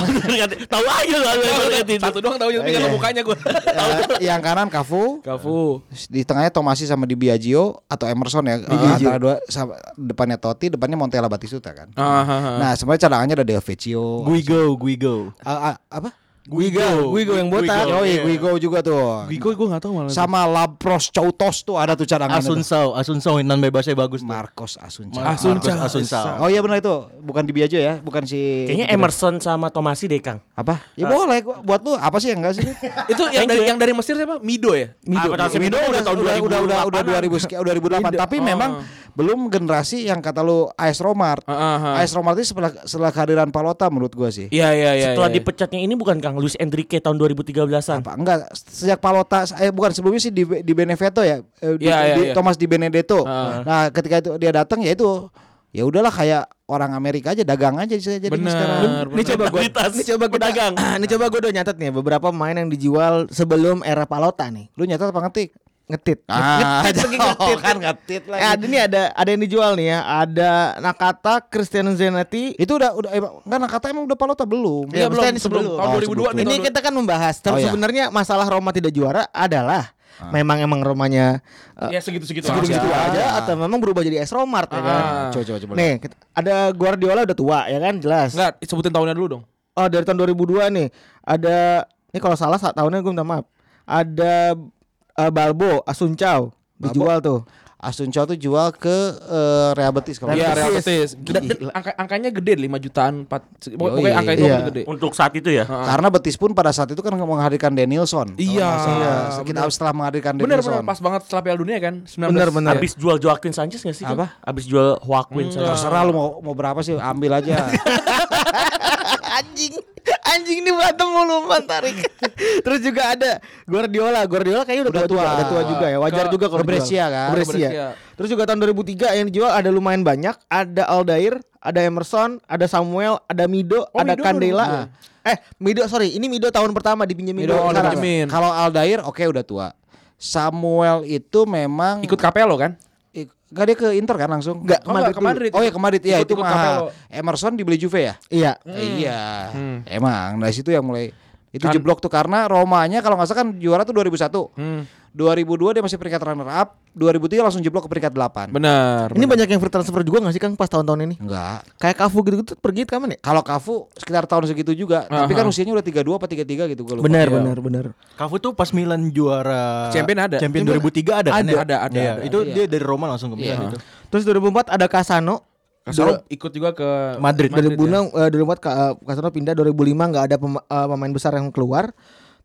Tahu aja lah lu yang lihat itu. Satu doang tahu tapi nggak tahu mukanya gue. Eh, yang kanan Kafu, Kafu. di tengahnya Tomasi sama Di Biagio atau Emerson ya. Antara dua sama- depannya Totti, depannya Montella Batistuta kan. Ah, ah, ah. Nah, sebenarnya cadangannya ada Del Vecchio. Guigo, Guigo. A- a- apa? Guigo. Guigo yang botak. Yoi, Guigo juga tuh. iya. Guigo gue nggak tahu malah. Sama Lapros Choutos tuh ada tuh cadangannya. tuh. Asunsao, Asunsao nan bebasnya bagus. tuh. Marcos Asuncao. Asunca. Marcos Asuncao. Oh iya benar itu, bukan di Biajo ya, bukan si Kayaknya Emerson sama Tomasi deh Kang. apa? Ya boleh gua- buat lu apa sih yang enggak sih? <laughs> Itu yang dari yang dari Mesir siapa? Mido ya? Mido. Mido udah tahun kan udah udah udah udah 2008-an. 2000 sekian, 2008 tapi memang belum generasi yang kata lu AS Romart. Ah, ah, ah. AS Romart itu setelah setelah kehadiran Palota menurut gua sih. Iya iya iya. Setelah iya. dipecatnya ini bukan Kang Luis Enrique tahun 2013-an. Apa enggak sejak Palota eh bukan sebelumnya sih di di Benevento ya, eh, di, Iya, iya, di iya. Thomas di Benedetto. Ah. Nah, ketika itu dia datang ya itu ya udahlah kayak orang Amerika aja dagang aja jadi sekarang. Bener. Ini coba gue Mentalitas ini coba kita, pedagang. Ini coba gue udah nyatet <clears throat> nih beberapa pemain yang dijual sebelum era Palota nih. Lu nyata apa ngetik? Ngetit. Ah, ngetit lagi ngetit. kan ngetit Eh, ada ini ada ada yang dijual nih ya. Ada Nakata, Cristiano Zanetti. Itu udah udah emang enggak Nakata emang udah Palota belum. Iya, maksudnya Iya, belum ini sebelum sebelum. tahun Oh, 2002 nih. Ini tahun- kita kan membahas. Terus Oh, iya. sebenarnya masalah Roma tidak juara adalah memang emang Romanya eh, ya segitu-segitu segitu aja. gitu aja atau memang berubah jadi S Romart ya kan. Ah. Coba coba coba. Nih, kita- ada Guardiola udah tua ya kan jelas. Enggak, sebutin tahunnya dulu dong. Oh dari tahun 2002 nih ada ini kalau salah saat tahunnya gue minta maaf ada eh, Balbo Asuncao dijual tuh Asuncio tuh jual ke eh, Real Betis kalau Iya, nggak Real salah. Betis. Dan- dan angka- angkanya gede 5 jutaan 4. Pokoknya Yoi. angka itu Iya. gede. Untuk saat itu ya. Karena Betis pun pada saat itu kan menghadirkan Danielson. Iya. Kita setelah menghadirkan Bener bener Danielson. pas banget setelah Piala Dunia kan 19. Bener, bener. Abis jual Joaquin Sanchez gak sih? Kang? Apa? Abis jual Joaquin Sanchez. Terserah lu mau mau berapa sih ambil aja. <laughs> Iya, anjing anjing ini berantem mulu man tarik <laughs> terus juga ada Guardiola Guardiola kayaknya udah, Udah tua, juga tua. udah tua juga ya wajar Ke- juga kalau ke Brescia dijual. kan? Ke Brescia. Ke Brescia. terus juga tahun 2003 yang dijual ada lumayan banyak ada Aldair ada Emerson ada Samuel ada Mido Oh, ada Mido baru Candela eh Mido sorry ini Mido tahun pertama dipinjemin Mido, dulu oh, sekarang. dipinjemin. Min. Kalau Aldair oke udah tua. Samuel itu memang Ikut Capello kan? ik- nggak, dia ke Inter kan langsung? Nggak, Oh, nggak, Madrid dulu. ke Madrid. Oh ya ke Madrid ya Ikut- itu ikut Capello. Hmm. mahal. Emerson dibeli Juve ya? iya Iya. Emang dari situ yang mulai itu Kan- jeblok tuh karena Romanya kalau nggak salah kan juara tuh 2001. Hmm. 2002 dia masih peringkat runner up, 2003 langsung jeblok ke peringkat 8. Bener. Ini banyak yang free transfer juga gak sih Kang pas tahun-tahun ini? Enggak. Kayak Kafu gitu-gitu pergi kapan ya? Kalau Kafu sekitar tahun segitu juga, tapi Aha. kan usianya udah 32 apa 33 gitu gue lupa. Benar, Iya. benar, benar. Kafu tuh pas Milan juara Champion ada. Champion 2003 ada kan Ada, ya? ada, ada, Iya, ada, itu ada, dia dari Roma langsung ke Milan gitu. Iya. itu. Terus 2004 ada Casano. Kasaro ikut juga ke Madrid. Madrid ya. 2006 eh, 2004 Ka- eh, Casano pindah, 2005 nggak ada pema- eh, pemain besar yang keluar.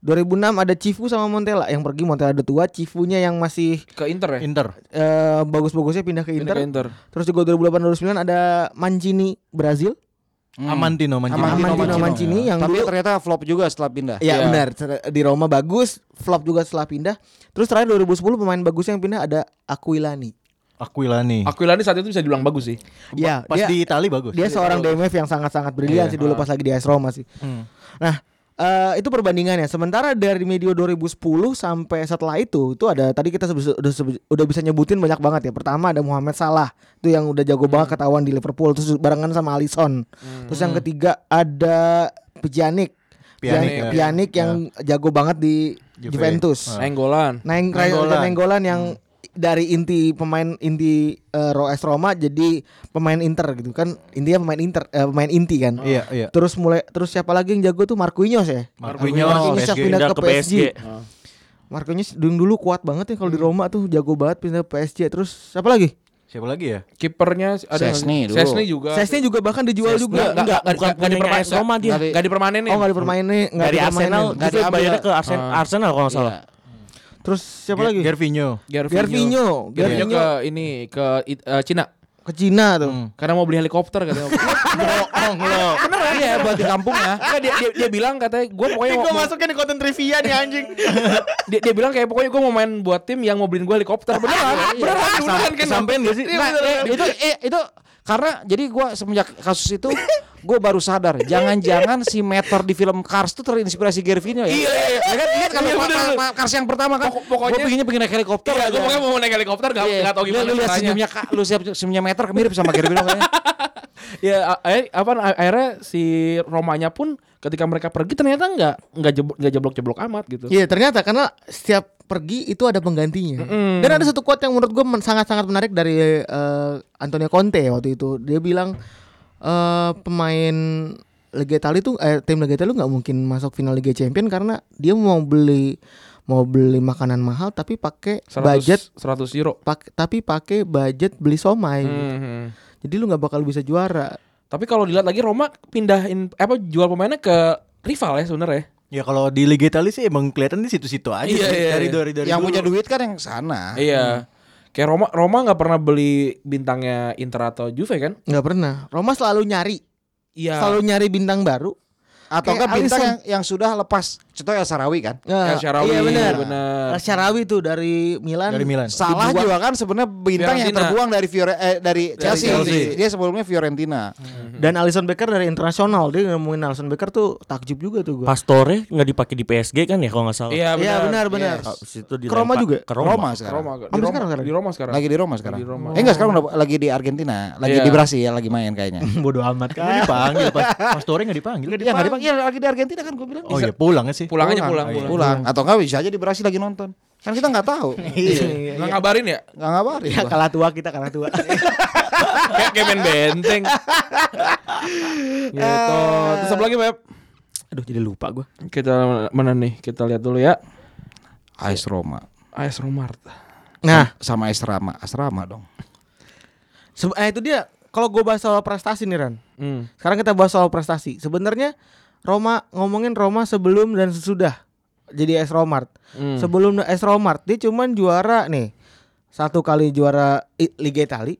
2006 ada Cifu sama Montella yang pergi Montella udah tua, Cifunya yang masih ke Inter ya? Inter. eh, bagus-bagusnya pindah ke Pindah Inter. ke Inter. Terus juga 2008 2009 ada Mancini Brazil, Hmm. Amantino, Amantino. Amantino, Amantino Mancini yang Tapi dulu ternyata flop juga setelah pindah. Ya Iya. benar Ser- di Roma bagus, flop juga setelah pindah. Terus terakhir 2010 pemain bagusnya yang pindah ada Aquilani. Aquilani. Aquilani saat itu bisa dibilang bagus sih. Ya, dia- Pas di Itali bagus. Iya. Ah. Hmm. Dia seorang DMF yang sangat-sangat brilian sih dulu pas lagi di AS Roma sih. Nah, eh, itu perbandingannya. Sementara dari medio 2010 sampai setelah itu, itu ada tadi kita sebes- udah, sebe- udah bisa nyebutin banyak banget ya. Pertama ada Mohamed Salah, itu yang udah jago banget Hmm. ketahuan di Liverpool. Terus barengan sama Alisson. Terus yang ketiga ada Pjanic. Pjanic, Pjanic, ya. Pjanic yang jago banget di Juve. Ah. Juventus. Enggolan. Neng Nenggolan. Nenggolan. Nenggolan yang dari inti pemain inti eh, Ro- AS Roma jadi pemain Inter gitu kan intinya pemain Inter eh, pemain inti kan Iya, iya. terus mulai terus siapa lagi yang jago tuh Marquinhos ya Marquinhos, Marquinhos yang PSG. pindah Pindah ke PSG Marquinhos dulu dulu kuat banget ya kalau di Roma tuh jago banget pindah ke PSG terus siapa lagi Siapa lagi ya? Kipernya ada Sesni dulu. Sesni juga. Sesnya juga bahkan dijual juga enggak enggak enggak Bukan enggak punya dipermain- AS Roma dia. enggak- enggak dipermanenin. oh nggak dipermainin nggak Dari dipermainin. Arsenal. Nggak Justru diambil. bayarnya ke Arsenal, Arsenal kalau nggak salah. terus siapa lagi Gervinho. Gervinho. Gervinho Gervinho. ke ini ke It- eh, Cina. ke Cina tuh Karena mau beli helikopter katanya. Bohong lo. Iya buat di kampungnya. <laughs> Enggak dia, dia dia bilang katanya gue pokoknya mau, mau- masukin di konten trivia nih <laughs> anjing dia, dia bilang kayak pokoknya gue mau main iya. buat tim yang mau beliin gue helikopter beneran beneran beneran kan Sampein gak sih? Iya, beneran. itu eh, itu Karena jadi gua semenjak kasus itu gue baru sadar jangan-jangan si meter di film Cars itu terinspirasi Gary Vino ya. Iya, iya, iya. Ya kan lihat kan Iya, pa- bener, pa- bener. pa- Cars yang pertama kan. Pokok- pokoknya- gue pinginnya pengen naik helikopter. Iya, gue aja. pokoknya mau naik helikopter gak, Iya. nggak tahu Lu- gimana Lu lihat caranya. senyumnya Kak, lu siap senyumnya meter mirip sama Gary kan? Vino kayaknya. Ya, a- eh, apa a- akhirnya si Romanya pun ketika mereka pergi ternyata nggak nggak jebl- nggak jeblok-jeblok amat gitu. Iya ternyata karena setiap pergi itu ada penggantinya. Dan ada satu quote yang menurut gue men- sangat-sangat menarik dari eh, Antonio Conte waktu itu. Dia bilang eh, pemain Liga Italia tuh eh, tim Liga Italia nggak mungkin masuk final Liga Champion karena dia mau beli mau beli makanan mahal tapi pakai 100 budget 100 euro. pak- tapi pakai budget beli somai. Mhm. Jadi lu nggak bakal bisa juara. Tapi kalau dilihat lagi Roma pindahin apa jual pemainnya ke rival ya sebenarnya. Ya kalau di Liga Italia sih emang kelihatan di situ-situ aja Iya, sih, iya, dari iya. dari dari Yang dulu. punya duit kan yang sana. Iya. Kayak Roma Roma nggak pernah beli bintangnya Inter atau Juve kan? Nggak pernah. Roma selalu nyari, Iya. selalu nyari bintang baru. Atau Kayak kan bintang Alisson. yang, yang sudah lepas. Contoh ya Sarawi kan. El Nah, Shaarawy, iya benar. benar. El Shaarawy tuh dari kan Milan. dari Milan. Salah Dibuang. juga kan sebenarnya bintang yang Fiorentina. terbuang dari Fiore eh, dari, Chelsea. Chelsea. Dia sebelumnya Fiorentina. Dan Alisson Becker dari internasional dia ngomongin Alisson Becker tuh takjub juga tuh gua. Pastore nggak dipakai di PSG kan ya kalau nggak salah. Iya Iya benar. benar benar. Abis itu Ke Roma dilempar- juga? Ke Roma. Roma Ke sekarang. Roma, di Sampai Roma, sekarang, sekarang? di Roma sekarang. Lagi di Roma sekarang. Di Roma. Eh enggak sekarang udah lagi di Argentina, lagi Iya. di Brasil lagi main kayaknya. Bodoh amat Nggak kan. dipanggil pas Pastore nggak dipanggil. Iya nggak dipanggil lagi di Argentina kan gue bilang. Oh iya pulang sih. Pulang aja pulang, Oh, iya. pulang. Pulang atau enggak bisa aja di Brasil lagi nonton. Kan kita nggak tahu. <laughs> Iya. Nggak ngabarin ya? Nggak ngabarin. Ya gua. kalah tua kita kalah tua. Kayak kayak main benteng. gitu. Terus apa lagi, Beb? Aduh jadi lupa gue. Kita mana nih? Kita lihat dulu ya. AS Roma AS Roma. <laughs> Nah, sama AS Rama, asrama dong. se- eh, itu dia kalau gue bahas soal prestasi nih Ran. Hmm. Sekarang kita bahas soal prestasi. Sebenarnya Roma ngomongin Roma sebelum dan sesudah jadi AS Romart. Hmm. Sebelum AS Romart dia cuman juara nih. Satu kali juara I- Liga Italia.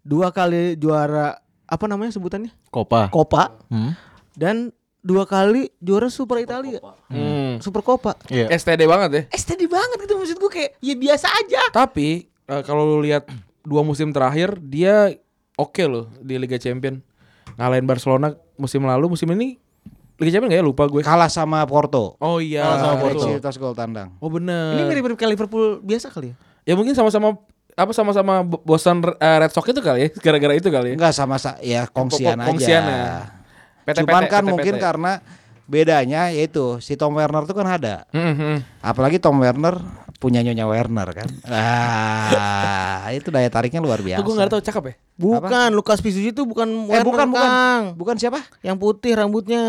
Dua kali juara apa namanya sebutannya? Copa. Copa Hmm. dan dua kali juara Super Italia. Hmm. Super Copa. Iya. STD banget ya. STD banget gitu maksud gue kayak ya biasa aja. Tapi eh, kalau lu lihat dua musim terakhir dia oke loh di Liga Champion. Ngalahin Barcelona musim lalu, musim ini Liga Champion gak ya lupa gue. Kalah sama Porto. Oh iya. Kalah sama betul. Porto. Tas gol tandang. Oh bener. Ini mirip-mirip kayak Liverpool biasa kali ya. Ya mungkin sama-sama apa sama-sama bo- bosan eh, Red Sox itu kali ya, <laughs> gara-gara itu kali ya. Enggak sama sa- ya kongsian aja. Kongsian ya. PT, Cuman kan PT. mungkin karena bedanya yaitu si Tom Werner tuh kan ada. Mm, mm. Apalagi Tom Werner punya Nyonya Werner kan. Ah, itu daya tariknya luar biasa. Tuh gue gak tau cakep ya. Bukan Lukas Pisuji itu bukan Eh, Werner, bukan, bukan. Kang. Bukan siapa? Yang putih rambutnya.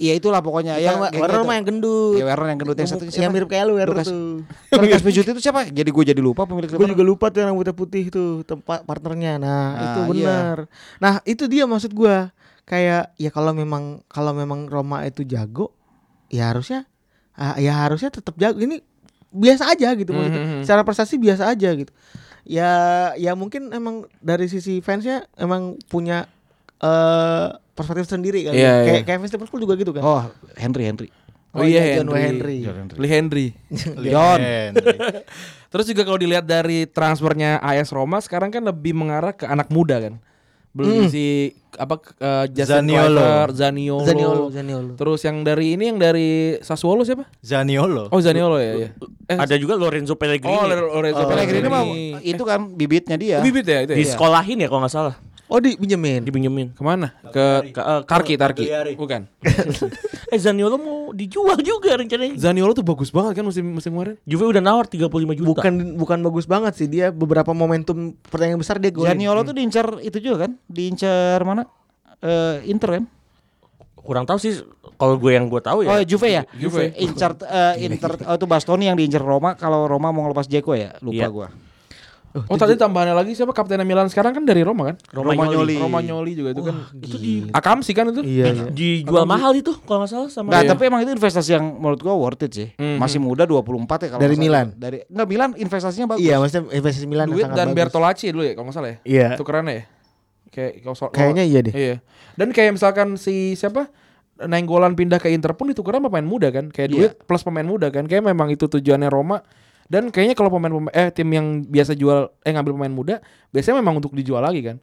Iya itulah pokoknya Yang ya. Werner mah gitu. yang gendut. Ya Werner yang gendut yang satu siapa? yang mirip kayak lu Werner Lukas- tuh. Lukas Pijuti itu siapa? Jadi gue jadi lupa pemilik Gue Werner. juga lupa tuh yang rambutnya putih tuh tempat partnernya. Nah, itu Ah, iya. benar. Nah, itu dia maksud gua. Kayak ya kalau memang kalau memang Roma itu jago, ya harusnya ah, ya harusnya tetap jago. Ini biasa aja gitu Hmm, maksudnya. Secara prestasi biasa aja gitu. Ya ya mungkin emang dari sisi fansnya emang punya eh perspektif sendiri kali. ya. Iya, kayak iya. kayak fans Liverpool juga gitu kan. Oh, Henry Henry. Oh iya, John Henry. Henry. Lee Henry. Iya, John. Terus juga kalau dilihat dari transfernya AS Roma sekarang kan lebih mengarah ke anak muda kan. Beli si apa eh, Justin Zaniolo. Kluivert, Zaniolo. Zaniolo, Oh. Zaniolo. Terus yang dari ini yang dari Sassuolo siapa? Zaniolo. Oh Zaniolo ya. ya. Eh, Ada juga Lorenzo Pellegrini. Oh Lorenzo Pellegrini Pellegrini. mah itu kan bibitnya dia. Bibit ya itu. di Ya? sekolahin ya kalau nggak salah. Oh, dipinjemin. Dipinjemin. Kemana? Ke, ke eh, Tarki, Tarki. Cagliari. Bukan. Eh Zaniolo mau dijual juga rencananya. Zaniolo tuh bagus banget kan musim musim kemarin. Juve udah nawar 35 juta. Bukan bukan bagus banget sih dia beberapa momentum pertandingan besar dia golin. Zaniolo tuh diincar itu juga kan? Diincar mana? Eh Inter kan? kurang tahu sih kalau gue yang gue tahu ya. Oh Juve ya? Juve. Incar eh, Inter oh, itu Bastoni yang diincar Roma kalau Roma mau ngelepas Jeko ya? Lupa Iya. gua. Oh tadi tambahannya lagi siapa kapten Milan sekarang kan dari Roma kan? Romagnoli. Romagnoli juga itu kan. Itu di Akamsi kan itu? <laughs> Iya, iya. Dijual mahal itu kalau nggak salah sama Nah, tapi emang itu investasi yang menurut gua worth it sih. Masih muda 24 ya kalau Hmm. Dari nggak salah. Milan? Dari enggak Milan investasinya bagus. Iya, maksudnya investasi Milan yang Duit sangat dan bagus. Bertolacci dulu ya kalau nggak salah ya. Iya. Tukerannya ya. Kayak kalau soal- Kayaknya iya deh. Iya. Dan kayak misalkan si siapa Iya. Nenggolan pindah ke Inter pun ditukar sama pemain muda kan. Kayak duit plus pemain muda kan. Kayak memang itu tujuannya Roma Dan kayaknya kalau pemain, pemain eh tim yang biasa jual eh ngambil pemain muda biasanya memang untuk dijual lagi kan.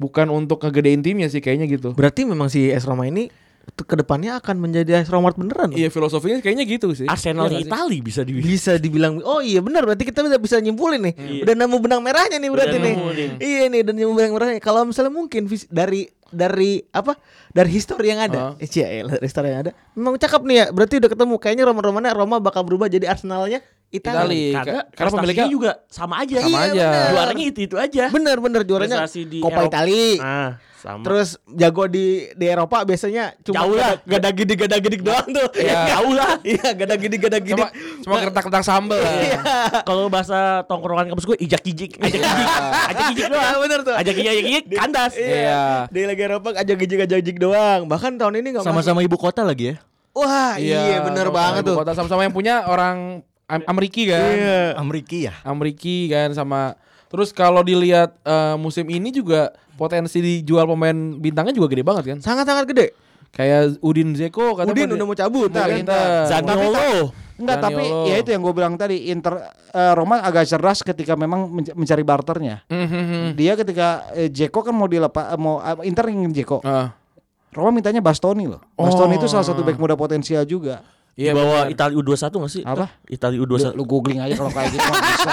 Bukan untuk ngegedein timnya sih kayaknya gitu. Berarti memang si AS Roma ini t- kedepannya akan menjadi AS Roma beneran. Iya filosofinya kayaknya gitu sih. Arsenal Iya nggak sih? di Itali bisa dibilang. Bisa dibilang oh iya benar berarti kita udah bisa nyimpulin nih. Udah nemu benang merahnya nih berarti nih. nemu nih. Iya nih dan nemu benang merahnya. Kalau misalnya mungkin vis- dari dari apa? Dari histori yang ada. Eh, cia, eh, dari histori yang ada. Memang cakep nih ya. Berarti udah ketemu kayaknya Roma-Romanya Roma bakal berubah jadi Arsenalnya Itali. Italia. Iya, Karena, ka- karena pemiliknya- juga sama aja. Sama Iya, aja. bener. Juaranya itu-itu aja. Bener bener juaranya Prestasi di Coppa Eropa. Itali. Ah, sama. Terus jago di di Eropa biasanya cuma Jauh lah. gada gidi gada gidik <laughs> doang <laughs> tuh. Iya. Jauh lah. Iya, gada gidi gada <laughs> Cuma gidik. cuma kertak-kertak sambel <laughs> kan? lah. Iya. Kalau bahasa tongkrongan kampus gue ijak kijik, ajak kijik, ajak kijik doang. Iya, bener tuh. Ajak kijik, ajak kijik, kandas. Iya. Di Liga Eropa aja gijik aja gijik doang. Bahkan tahun ini enggak Sama-sama ibu kota lagi ya. Wah, iya, bener sama-sama banget ibu tuh. kota, sama-sama yang punya orang Am- Ameriki kan. iya. Amerika ya. Amriki kan sama terus kalau dilihat eh, musim ini juga potensi dijual pemain bintangnya juga gede banget kan. Sangat-sangat gede. Kayak Udin Zeko katanya. Udin mau- udah mau cabut. Nah, kan? kita- Zaniolo. Enggak, tapi Zaniolo. ya itu yang gue bilang tadi Inter eh, Roma agak cerdas ketika memang menc- mencari barternya. Mhm. Dia ketika eh, Dzeko kan mau dilepas eh, mau eh, Inter ingin Dzeko. Ah, Roma mintanya Bastoni loh. Oh. Bastoni itu salah satu back muda potensial juga. Iya Iya, Bawa benar. Itali U21 gak sih? Apa? Itali Lu, U21. lu googling aja kalau <laughs> kayak gitu mah bisa.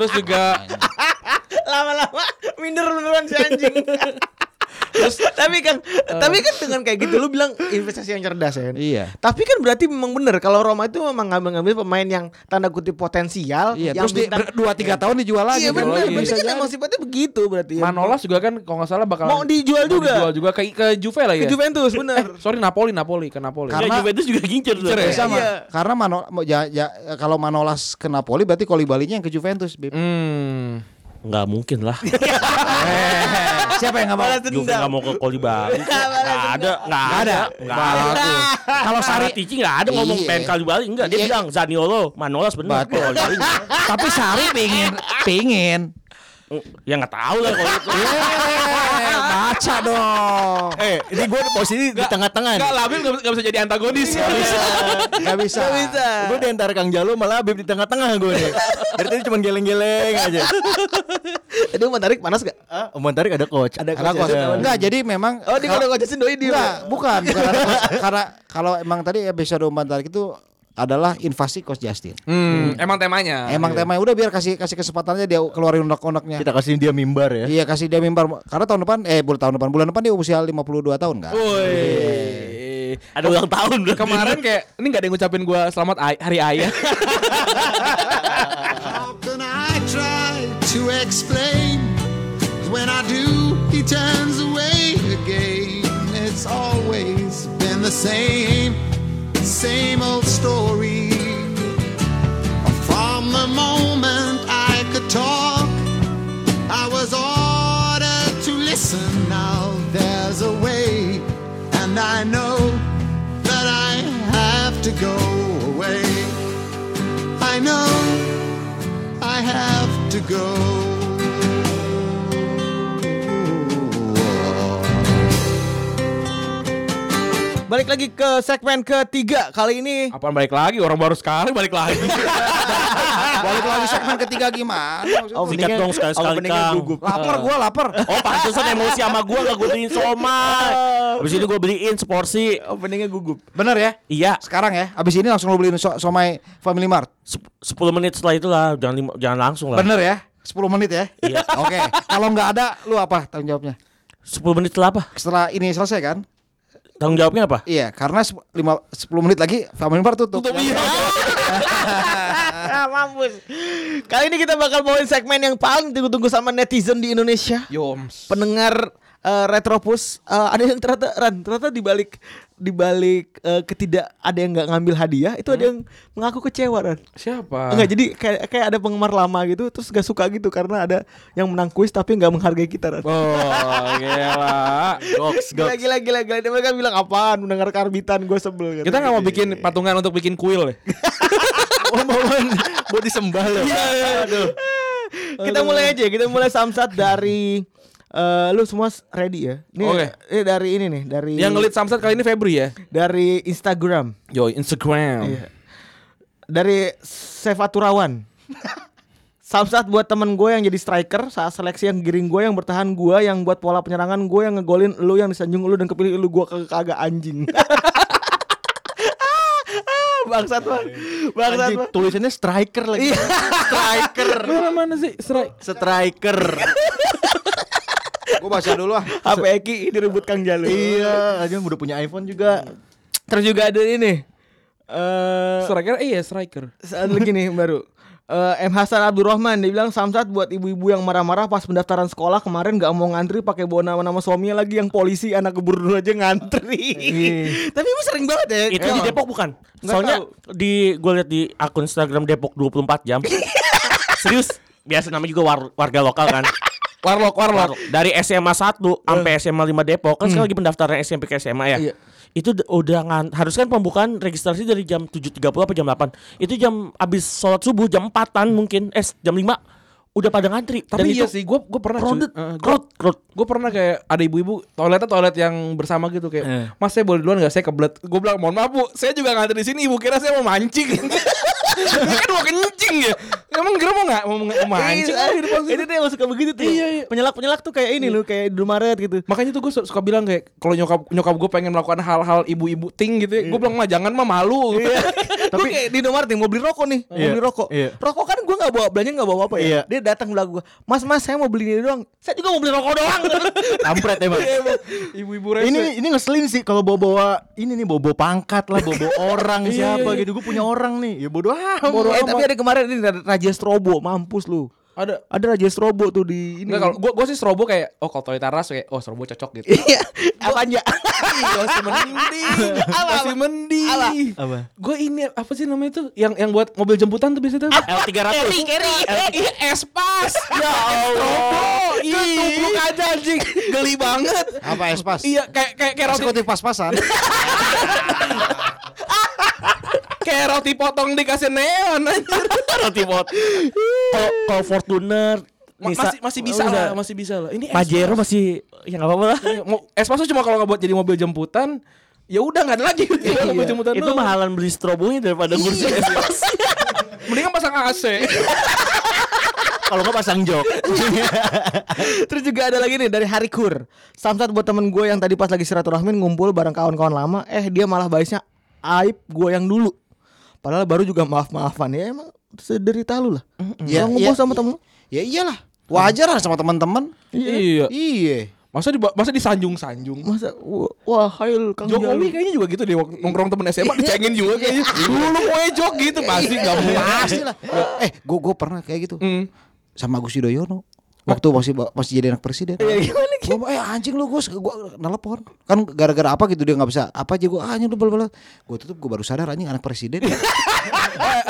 Terus juga <laughs> Lama-lama minder beneran si anjing. Terus, tapi kan tapi kan dengan kayak gitu lu bilang investasi yang cerdas ya. Iya. Tapi kan berarti memang bener kalau Roma itu memang ngambil-ngambil pemain yang tanda kutip potensial Iya, yang terus di, bintang- ber- dua tiga tahun dijual lagi. Iya kan? benar, lagi. berarti Bisa kan jadi. emang sifatnya begitu berarti ya. Manolas juga kan kalau nggak salah bakal Mau dijual juga. Dijual juga ke ke Juve lah ke ya. Juventus Eh, <laughs> bener. sorry Napoli, Napoli ke Napoli. Ya, Karena- ya, Juventus juga gincer tuh. Bisa, Iya. Mak. Karena Mano, mau- ja- ja- kalau Manolas ke Napoli berarti Kolibalinya yang ke Juventus. <laughs> Bib. Hmm. Enggak mungkin <laughs> lah. Siapa yang nggak mau? Balas Juve dendam. gak mau ke Koli <laughs> Bali. Enggak ada, enggak ada. Enggak ada. Kalau Sari Sari Tici enggak ada ngomong Iya. pengen Koli Bali enggak. Dia Iya. bilang Zaniolo, Manolas benar. Betul. Koli Bali. <laughs> nggak. tapi Sari pengen pengen. Ya enggak tahu lah kalau itu. Iya. Eh, baca dong. Eh, ini gue posisi di tengah-tengah nih. Enggak, Labib nggak bisa- nggak bisa jadi antagonis. Gak bisa. Nggak bisa. Gue di antara Kang Jalo malah Habib di tengah-tengah gue nih. Dari tadi cuma geleng-geleng aja. Tadi mau tarik panas gak? Ah, Omongan tarik ada coach. Ada Karena kok- Enggak, jadi memang Oh dia kalau- udah ngajakin doi dia. Enggak, bukan. bukan karena, karena kalau emang tadi episode umpan tarik itu adalah invasi Coach Justin. Hmm, emang temanya. Iya. Emang temanya udah biar kasih kasih kesempatannya dia keluarin unek-uneknya. Kita kasih dia mimbar ya. Iya kasih dia mimbar karena tahun depan eh bulan tahun depan bulan depan dia usia 52 tahun kan. Woi. Ada ulang tahun. berarti. Kemarin kayak ini nggak ada yang ngucapin gue selamat ai- ya? hari ayah. How can I try to explain? When I do, he turns away again. It's always been the same, same old story. From the moment I could talk, I was ordered to listen. Now there's a way, and I know that I have to go away. I know. I have to go. Balik lagi ke segmen ketiga kali ini. <laughs> Apaan balik lagi? Orang baru sekali balik <laughs> lagi. Balik lagi segmen ketiga gimana? maksudnya? Sikat dong oh, sekali-sekali Kang. Lapar gua lapar. Oh pantesan emosi sama gue gak gue beliin <laughs> somai Habis itu gue beliin seporsi Openingnya gugup. Oh, Bener ya? Iya Sekarang ya. Abis ini langsung lu beliin so- somai Family Mart. sep- 10 menit setelah itulah Jangan lima, jangan langsung lah Bener ya? 10 menit ya? Oh. Iya. <laughs> Oke. Kalau nggak ada lu apa tanggung jawabnya? 10 menit setelah apa? Setelah ini selesai kan? Tanggung jawabnya apa? Iya, karena sep- lima, 10 menit lagi Family Mart tutup. Ya, Mampus. Kali ini kita bakal bawain segmen yang paling ditunggu-tunggu sama netizen di Indonesia. Yoms. pendengar eh, Retropus eh, ada yang ternyata Ran, ternyata di balik di balik eh, ketidak ada yang nggak ngambil hadiah itu ada yang mengaku kecewa Ran. Siapa? Enggak jadi kayak kayak ada penggemar lama gitu terus gak suka gitu karena ada yang menang kuis tapi nggak menghargai kita Ran. Oh, gila. Goks, <laughs> Gila, goks. gila, gila, gila. Dia mereka bilang apaan mendengar karbitan gue sebel gitu. Kita nggak mau bikin patungan untuk bikin kuil ya? deh. Oh, mohon <laughs> buat disembah loh. Aduh. Iya, kita mulai aja, kita mulai samsat dari eh, lu semua ready ya. Ini, Oke. ini dari ini nih, dari Iya. Yang ngelit Samsat kali ini Febri ya. dari Instagram. Yo, Instagram. Iya. dari Sefa Turawan. Samsat buat temen gue yang jadi striker saat seleksi yang giring gue yang bertahan gue yang buat pola penyerangan gue yang ngegolin lu yang disanjung lu dan kepilih lu gue kagak kagak anjing. <laughs> Ah, ah, Bangsat bang, bangsat Anjing, bang. tulisannya striker lagi. striker. Mana mana sih strike? Striker. Gue baca dulu ah. HP Eki direbut Kang Jalu. iya, aja udah punya iPhone juga. Terus juga ada ini. Eh Striker iya striker. Saat lagi nih baru Eh, M Hasan Abdurrahman dia bilang Samsat buat ibu-ibu yang marah-marah pas pendaftaran sekolah kemarin nggak mau ngantri pakai bawa nama-nama suaminya lagi yang polisi anak keburu dulu aja ngantri. Tapi ibu sering banget ya. Itu di Depok bukan? Nggak Soalnya tahu. di gue lihat di akun Instagram Depok 24 <laughs> jam. Serius, biasa namanya juga war- warga lokal kan. <laughs> Warlock warlock. Eh. Hmm. Dari SMA 1 sampai SMA 5 Depok kan sekarang lagi pendaftaran SMP ke SMA ya. Iya. Itu d- udah ngan, harus kan pembukaan registrasi dari jam 7.30 apa jam 8. Itu jam abis sholat subuh jam 4-an mungkin, eh jam 5 udah pada ngantri. Tapi iya itu sih gue gue pernah crowded, gue crowd, crowd. pernah kayak ada ibu-ibu toiletnya toilet yang bersama gitu kayak Mas saya boleh duluan gak saya kebelet Gue bilang mohon maaf bu Saya juga ngantri di sini Ibu kira saya mau mancing <laughs> Saya kan mau kencing ya Emang kira mau gak mau, mau mancing Iya, Itu tuh yang suka begitu tuh. Iya, iya. Penyelak-penyelak tuh kayak ini loh kayak di Maret gitu. Makanya tuh gue suka bilang kayak kalau nyokap nyokap gue pengen melakukan hal-hal ibu-ibu ting gitu ya. Gue bilang mah jangan mah malu. <laughs> Tapi kayak di Indomaret nih mau beli rokok nih, mau Iya, beli rokok. iya. Rokok kan gue nggak bawa belanja nggak bawa apa ya. Iya. Dia datang bilang gue, Mas Mas saya mau beli ini doang. Saya juga mau beli rokok doang. <laughs> Kampret emang. Ibu-ibu rese. ini ini ngeselin sih kalau bawa-bawa ini nih bawa-bawa pangkat lah, bawa-bawa orang siapa gitu. Gue punya orang nih. Ya bodoh amat. eh, tapi ada kemarin ini Raja Strobo, mampus lu. ada Ada Raja Strobo tuh di ini. Enggak kalau gue gue sih strobo kayak oh kalau Toy Taras kayak oh strobo cocok gitu. Iya, apa aja? Iya masih <laughs> mending. Masih mending. Apa? Gue ini apa sih namanya tuh yang yang buat mobil jemputan tuh biasanya tuh. L300. Ih, Espas. Ya Allah. Itu tubruk aja anjing. Geli banget. Apa espas? Iya kayak kayak kayak roti Eksekutif pas-pasan. kayak roti potong dikasih neon anjir. roti bot. Kalau Eh, kalau Fortuner, Ma- Nisa- masih masih bisa lah, masih bisa lah. Ini Oh, Pajero masih ya nggak apa-apa lah. Iya, mau Espas tuh cuma kalau nggak buat jadi mobil jemputan, ya udah nggak ada lagi mobil jemputan Itu doang. Iya. mahalan beli strobonya daripada ngurusin es. Mendingan pasang AC. Kalau nggak pasang jok. Terus juga ada lagi nih dari Harikur. Samsat buat temen gue yang tadi pas lagi silaturahmi ngumpul bareng kawan-kawan lama, eh dia malah baisnya aib gue yang dulu. Padahal baru juga maaf-maafan ya emang sederita lu lah. Ya, Orang ngumpul iya. sama temen lu. ya iyalah. Wajar lah sama teman-teman. Iya. Iya. Masa di masa disanjung-sanjung. Masa wah, wah hail Kang Jokowi Jalu. kayaknya juga gitu deh waktu nongkrong temen SMA dicengin juga kayaknya. Dulu gue jok gitu pasti Iya. enggak Pasti lah. Eh, gue gue pernah kayak gitu. Sama Agus Yudhoyono. Waktu masih ba- masih jadi anak presiden. Gua, eh anjing lu Gus, gua nelpon. Kan gara-gara apa gitu dia nggak bisa. Apa aja gua ah, anjing lu bel Gua tutup gua baru sadar anjing anak presiden. ya?"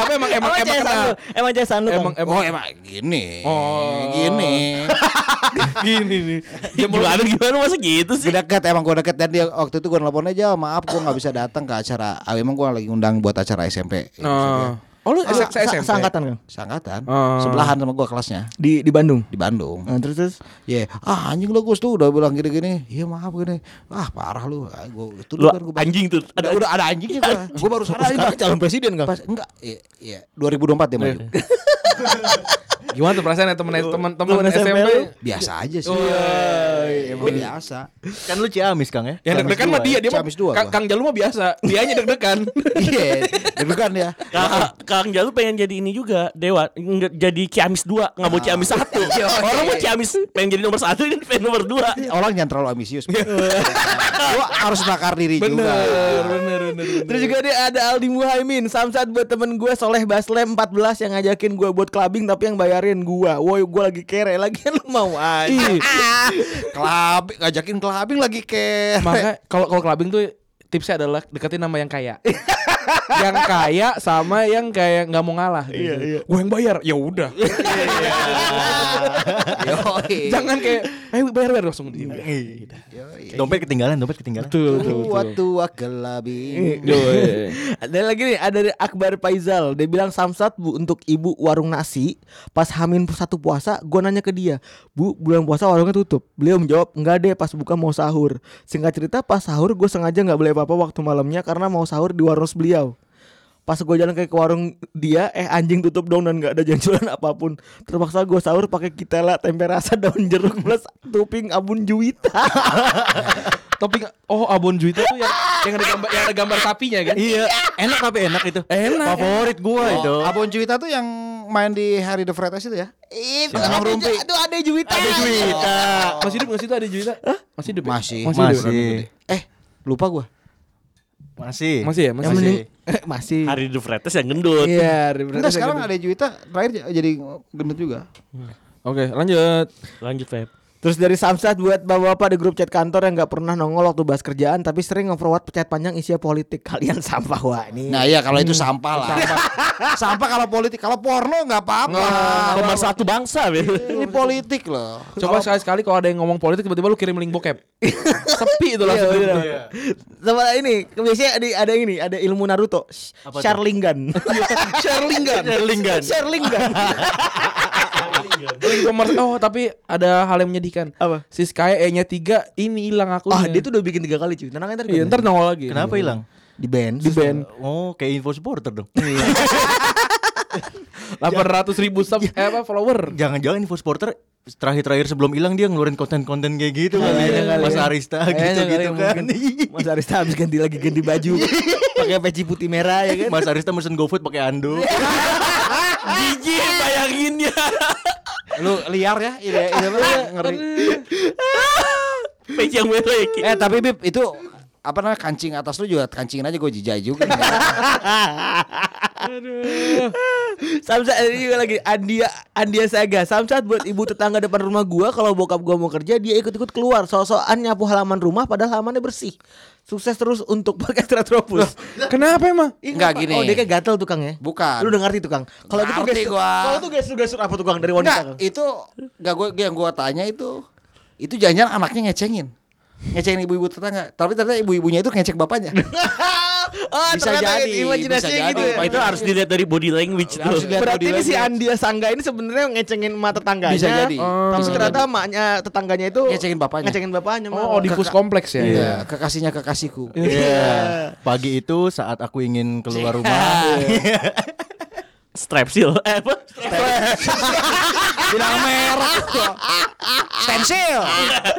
Apa emang emang Emang emang jasan kena lu, emang jasan lu. emang Emang emang Oh, emang gini. Oh. Gini. <laughs> gini nih. Gimana gimana masa gitu sih? Gue deket emang gue deket dan dia waktu itu gue nelfon aja maaf gue nggak bisa datang ke acara ah, emang gue lagi undang buat acara SMP Oh. Oh lu Ah. S- SMP. seangkatan Kang seangkatan Oh. sebelahan sama gue kelasnya di di Bandung. di Bandung Nah, terus terus ya ah anjing lu Gus tuh udah bilang gini gini iya maaf gini ah parah lu ah, gue itu Lu kan gua- anjing tuh. udah, udah ada anjingnya gue gue baru sadar ini pas- calon presiden Kang. pas enggak iya, iya 2024 dia Iya. maju Gimana tuh perasaan ya temen temen temen Temen SMP SMP? lu? biasa aja sih Iya. emang biasa Kan lu Ciamis, Kang ya? Yang deg-degan mah dia, dia mah Ciamis dua Kang- gua. Kang Jalu mah biasa, dianya deg-degan. iya deg-degan ya Nah. Kang, Kang Jalu pengen jadi ini juga Dewa nggak- Jadi Ciamis 2 Gak Ah. mau Ciamis <laughs> 1 Iya, Orang mau Ciamis Pengen jadi nomor 1 Dan pengen nomor 2 orang jangan terlalu ambisius lu harus bakar diri juga bener, bener. Terus juga dia ada Aldi Muhaimin Samsat buat temen gue Soleh Baslem 14 Yang ngajakin gue buat clubbing Tapi yang bayarin gue Woi gue lagi kere Lagi lu mau aja Iya. Kelabing ngajakin kelabing lagi ke Maka kalau kalau clubbing tuh tipsnya adalah deketin sama yang <laughs> kaya. yang kaya sama yang kayak nggak mau ngalah. Iya, iya. Gue yang bayar. Ya udah. <laughs> Iya. Yoi. <laughs> Jangan kayak ayo bayar bayar langsung Iya. dia. Dompet ketinggalan, dompet ketinggalan. tua tua kelabing Ada lagi nih Ada dari Akbar Faizal Dia bilang Samsat bu untuk ibu warung nasi Pas hamin satu puasa Gue nanya ke dia Bu bulan puasa warungnya tutup Beliau menjawab Enggak deh pas buka mau sahur Singkat cerita pas sahur Gue sengaja nggak beli apa-apa waktu malamnya Karena mau sahur di warung beliau Pas gue jalan kayak ke warung dia, eh anjing tutup dong dan nggak ada janjuran apapun. Terpaksa gue sahur pakai kitela tempe rasa daun jeruk plus topping abun juwita. Tapi oh abon juita tuh yang yang ada gambar yang ada gambar sapinya kan? Iya, enak tapi enak itu. Enak. Oh. Favorit gua itu. Abon Juwita tuh yang main di Hari the Fretas itu ya? Itu Siapa? Aduh ada juwita. Ada Juwita. Masih hidup nggak sih itu ada juita? Masih hidup. ya? Masih. Masih. hidup. Masih. Eh lupa gue. Masih. Masih ya, masih. Yang mending eh, masih. Hari Dufretes yang gendut. Iya, ya, Enggak sekarang ada Juwita terakhir j- jadi gendut juga. Oke, lanjut. Lanjut Feb. Terus dari Samsat buat bapak-bapak di grup chat kantor yang nggak pernah nongol waktu bahas kerjaan tapi sering nge-forward chat panjang isinya politik. <laughs> Kalian sampah wah ini. Nah iya kalau itu sampah lah. Sampah, kalau politik, kalau porno nggak apa-apa. Pemersatu bangsa, Feb. Ini politik loh. Coba sekali-sekali kalau ada yang ngomong politik tiba-tiba lu kirim link <laughs> bokep. Sepi itu langsung. Iya, Sama ini biasanya ada, ada ini ada ilmu Naruto. <laughs> Sharlingan. Sharlingan. Sharlingan. Sharlingan. Link komersial. Oh, tapi ada hal yang menyedihkan. Apa? Si Sky E-nya 3 ini hilang Wah, akunnya. dia tuh udah bikin tiga kali cuy. Tenang aja ntar. Iya, ntar nongol lagi. Kenapa hilang? di band. Di band Oh, kayak info supporter dong. 800 ribu sub eh, apa follower. Jangan-jangan info supporter terakhir-terakhir sebelum hilang dia ngeluarin konten-konten kayak gitu kali Kayaknya ya. kali Mas ya. Arista Kayaknya gitu-gitu kali ya, kan. mungkin. <laughs> Mas Arista habis ganti lagi ganti baju. <laughs> Pakai peci putih merah ya kan. Iya, Mas Arista mesen GoFood pakai anduk. Iya. Jijik bayanginnya. Lu liar ya, ide ide lu ya, ngeri. Page yang merah ya, Ki. Eh tapi Bib itu apa namanya kancing atas lu juga kancingin aja gue jijai juga. Samsat ini juga lagi Andia Andia Saga. Samsat buat ibu tetangga depan rumah gua kalau bokap gua mau kerja dia ikut-ikut keluar. Sosokan nyapu halaman rumah padahal halamannya bersih. Sukses terus untuk pakai Stratropus. Kenapa emang? Ih, <laughs> Enggak, kenapa? gini. Oh, dia kayak gatel tukang ya? Bukan. Lu udah ngerti tukang. Kalau itu Ngerti gestur. gua. Kalau itu gestur-gestur apa tukang dari wanita? Enggak, Kang? <laughs> itu enggak gue yang gue tanya itu itu jangan anaknya ngecengin. Ngecengin ibu-ibu tetangga, tapi ternyata ibu-ibunya itu ngecek bapaknya. oh, Bisa ternyata jadi, imajinasinya bisa gitu jadi. ya. Oh, itu harus dilihat dari body language Harus tuh. dilihat Berarti body ini si language. Andia Sangga ini sebenarnya ngecengin emak tetangganya. Bisa jadi. Tapi Bisa ternyata emaknya tetangganya itu Ngecengin bapaknya. Ngecengin bapaknya. Mak. Oh, Oedipus kompleks ya. jadi. Iya, kekasihnya kekasihku. Iya. Pagi itu saat aku ingin keluar Iya. rumah, Iya. Strepsil. Eh, apa? <laughs> Bilang merah. Stensil.